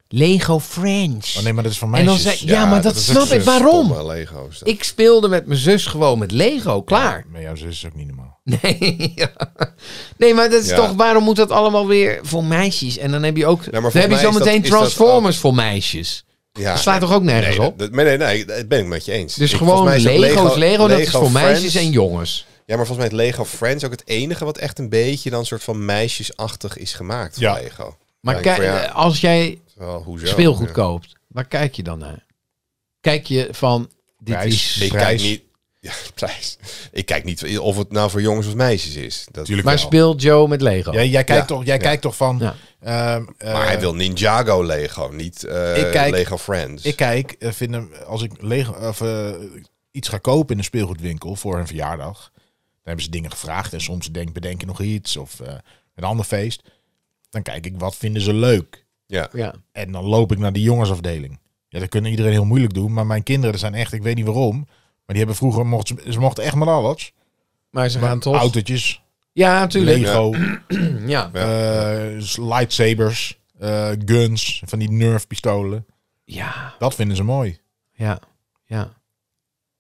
Lego Friends. Oh nee, maar dat is van en meisjes. dan zei, ja, maar dat, is snap een ik. Waarom? stomme Lego's. Ik speelde met mijn zus gewoon met Lego, klaar. Maar jouw zus is ook niet normaal. Nee, ja. nee maar dat is Ja. toch, waarom moet dat allemaal weer voor meisjes? En dan heb je ook, maar dan volgens heb je mij is zometeen dat- is dat Transformers voor meisjes. ja. dat slaat toch ook nergens Nee, dat, op? dat- nee, nee, nee, dat ben ik met je eens. Dus Ik- gewoon volgens Lego's, mij is dat Lego, dat is Lego voor Friends. meisjes en jongens. Ja, maar volgens mij is Lego Friends ook het enige wat echt een beetje dan soort van meisjesachtig is gemaakt van Ja. Lego. Maar Ja, ik kijk, vond, ja, eh, als jij wel, hoezo? speelgoed Ja. koopt, waar kijk je dan naar? Kijk je van, dit Prijs. is... Ik Prijs. kijk niet. Ja, prijs. Ik kijk niet of het nou voor jongens of meisjes is. Dat, Tuurlijk Maar wel. speelt Joe met Lego? Jij, jij kijkt, Ja. toch, jij Ja. kijkt toch van... Nou. Ja. ehm, eh, maar hij wil Ninjago Lego, niet eh, Ik kijk- Lego Friends. Ik kijk, eh, vind hem, als ik Lego, of, eh, iets ga kopen in een speelgoedwinkel voor een verjaardag... dan hebben ze dingen gevraagd en soms denk, bedenk je nog iets of eh, een ander feest. Dan kijk ik, wat vinden ze leuk? ja. Ja. En dan loop ik naar die jongensafdeling. Ja, dat kunnen iedereen heel moeilijk doen, maar mijn kinderen dat zijn echt, ik weet niet waarom... maar die hebben vroeger, mochten ze, ze mochten echt met alles. Maar ze gaan toch... Autootjes, Ja, natuurlijk. Lego... Ja. Eh, s- lightsabers, eh, guns, van die Nerf pistolen. Ja, Dat vinden ze mooi. ja, ja.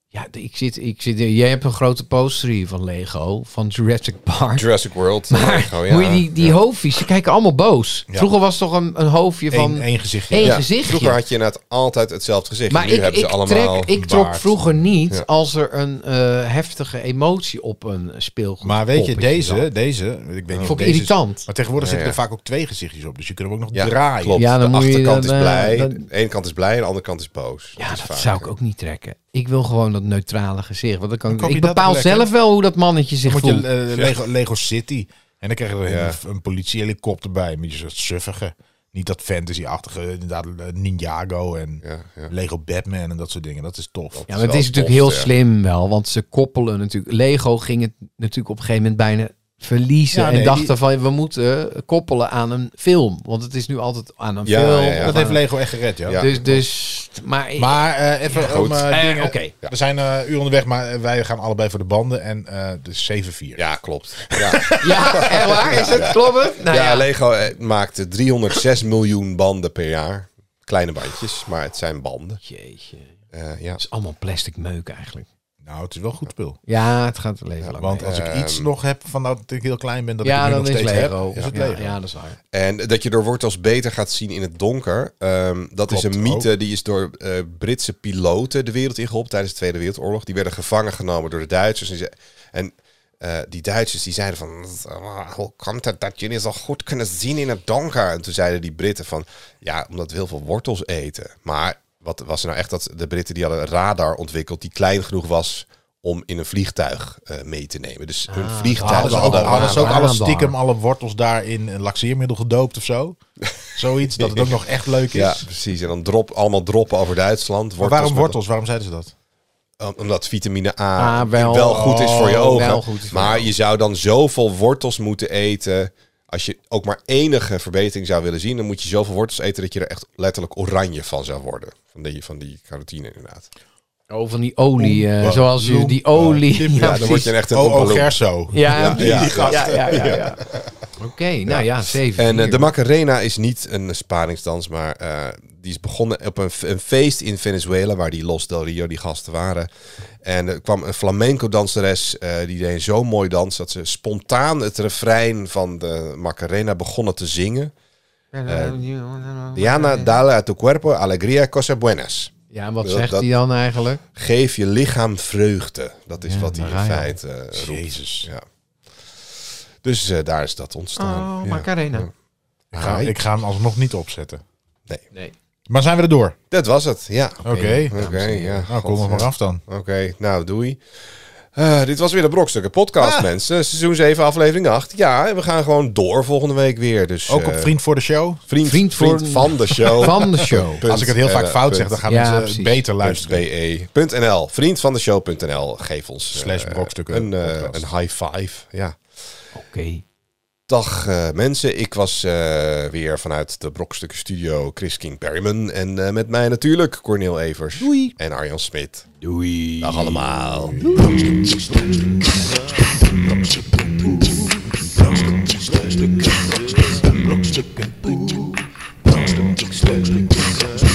Ja, de- ik zit, ik zit, jij hebt een grote poster hier van Lego, van Jurassic Park. Jurassic World maar Lego, ja. hoe je die, die hoofdjes, ze kijken allemaal boos. Ja. Vroeger was toch een, een hoofdje van Eén één gezichtje. één Ja, gezichtje. Vroeger had je inderdaad altijd hetzelfde gezicht. maar nu ik, hebben ik, ze allemaal... trek, ik een trok baard. vroeger niet Ja. als er een eh, heftige emotie op een speelgoed Maar weet je, poppetje deze, zat. deze, ik weet niet of Vond ik deze is- irritant. maar tegenwoordig Ja, zitten er ja. vaak ook twee gezichtjes op, dus je kunt hem ook nog Ja, draaien. klopt. Ja, dan de moet je achterkant dan, is blij. eh, De ene kant is blij en de andere kant is boos. Ja, is dat vaak, zou ik eh, ook niet trekken. Ik wil gewoon dat neutrale gezicht. Want dan kan Dan koop ik, je ik dat bepaal ook lekker. zelf wel hoe dat mannetje Dan zich moet voelt. je eh, Lego, Lego City. En dan krijg je er Ja. een, een politiehelikopter bij, met je soort suffige. Niet dat fantasy-achtige, inderdaad eh, Ninjago en Ja, ja. Lego Batman en dat soort dingen. Dat is tof. Ja, maar het wel is natuurlijk tof, heel ja. slim wel, want ze koppelen natuurlijk. Lego ging het natuurlijk op een gegeven moment bijna verliezen Ja, nee, en die- dachten van we moeten koppelen aan een film, want het is nu altijd aan een Ja, film. ja, ja. of dat aan heeft een- Lego echt gered, ja. Ja. Dus, dus, maar, Maar eh, even Ja, om goed. eh, Eh, dingen- oké. Ja. We zijn eh, een uur onderweg, maar eh, wij gaan allebei voor de banden. En eh dus 7-4. Ja, klopt. Ja, ja, echt waar is het? Klopt het? Nou, ja, ja, Lego eh, maakt 306 miljoen banden per jaar. Kleine bandjes, maar het zijn banden. Jeetje, het Eh, ja. is allemaal plastic meuk eigenlijk. Nou, het is wel een goed spul. Ja, het gaat leven lang. Want mee. als ik iets Ehm, nog heb van nou, dat ik heel klein ben, dat ik ja, het nu dan nog is steeds Lego. heb, is het ja, Lego. ja, dat is waar. En dat je door wortels beter gaat zien in het donker. ehm, dat Klopt, is een mythe die is door eh, Britse piloten de wereld ingeholpen tijdens de Tweede Wereldoorlog. Die werden gevangen genomen door de Duitsers. En, ze- en eh, eh, die Duitsers die zeiden van, "Ah, hoe komt het dat jullie zo goed kunnen zien in het donker? En toen zeiden die Britten van, ja, omdat we heel veel wortels eten. Maar wat was er nou echt dat de Britten die hadden een radar ontwikkeld die klein genoeg was om in een vliegtuig eh, mee te nemen. Dus hun vliegtuig Ah, Hadden ze ook, hadden- hadden ze ook waar- alle waar- stiekem alle wortels daar in een laxeermiddel gedoopt of zo? Zoiets, dat het ook nog echt leuk is. Ja, precies. En dan drop, allemaal droppen over Duitsland. maar Wortels waarom met- wortels? Waarom zeiden ze dat? Om- Omdat vitamine A Ah, wel, wel- goed is voor je oh, ogen. wel goed is voor maar je je zou dan zoveel wortels moeten eten. Als je ook maar enige verbetering zou willen zien, dan moet je zoveel wortels eten dat je er echt letterlijk oranje van zou worden. Van die, van die carotine inderdaad. Oh, van die olie. eh, Oompa zoals je die olie. Loompa. Ja, Ja, dan word je precies. echt een Oh, oh Oompa Loompa. Gerso. Ja, Ja, die ja, gasten. ja, ja, ja. Oké, nou ja, zeven. En eh, vier. de Macarena is niet een sparingsdans, maar eh, die is begonnen op een, f- een feest in Venezuela, waar die Los del Rio die gasten waren. En er kwam een flamenco danseres, eh, die deed zo mooi dans, dat ze spontaan het refrein van de Macarena begonnen te zingen. Oh, Diana, dale a tu cuerpo alegría cosa buenas. Ja, wat dat- zegt dat- hij dan eigenlijk? Geef je lichaam vreugde. Dat is Ja, wat hij in daar ga je feite eh, roept. Jezus. Ja. Dus eh, daar is dat ontstaan. Oh, Ja. Macarena. Ja. Ik ga, Hi. ik ga hem alsnog niet opzetten. Nee. Maar zijn we er door? Dat was het, ja. Oké. Oké, ja. Nou, kom er God, maar ja. af dan. Oké, nou doei. Eh, dit was weer de Brokstukken Ah. Podcast, mensen. Seizoen 7, aflevering 8. Ja, en we gaan gewoon door volgende week weer. Dus, Ook eh, op Vriend voor de Show. vriend, Vriend vriend voor- van de show. Van de show. Punt, Als ik het heel eh, vaak fout punt, zeg, dan gaan Ja, mensen precies. beter E punt luisteren. be.nl. Vriend van de show.nl. Geef ons eh, Slash Brokstukken een, eh, Podcast. een high five. Ja. Oké. Dag eh, mensen, ik was eh, weer vanuit de Brokstukken Studio Chris King Perryman. En eh, met mij natuurlijk Cornel Evers. En Arjan Smit. Doei. Dag allemaal. Brokstukken, brokstukken, brokstukken, brokstukken, brokstukken, brokstukken,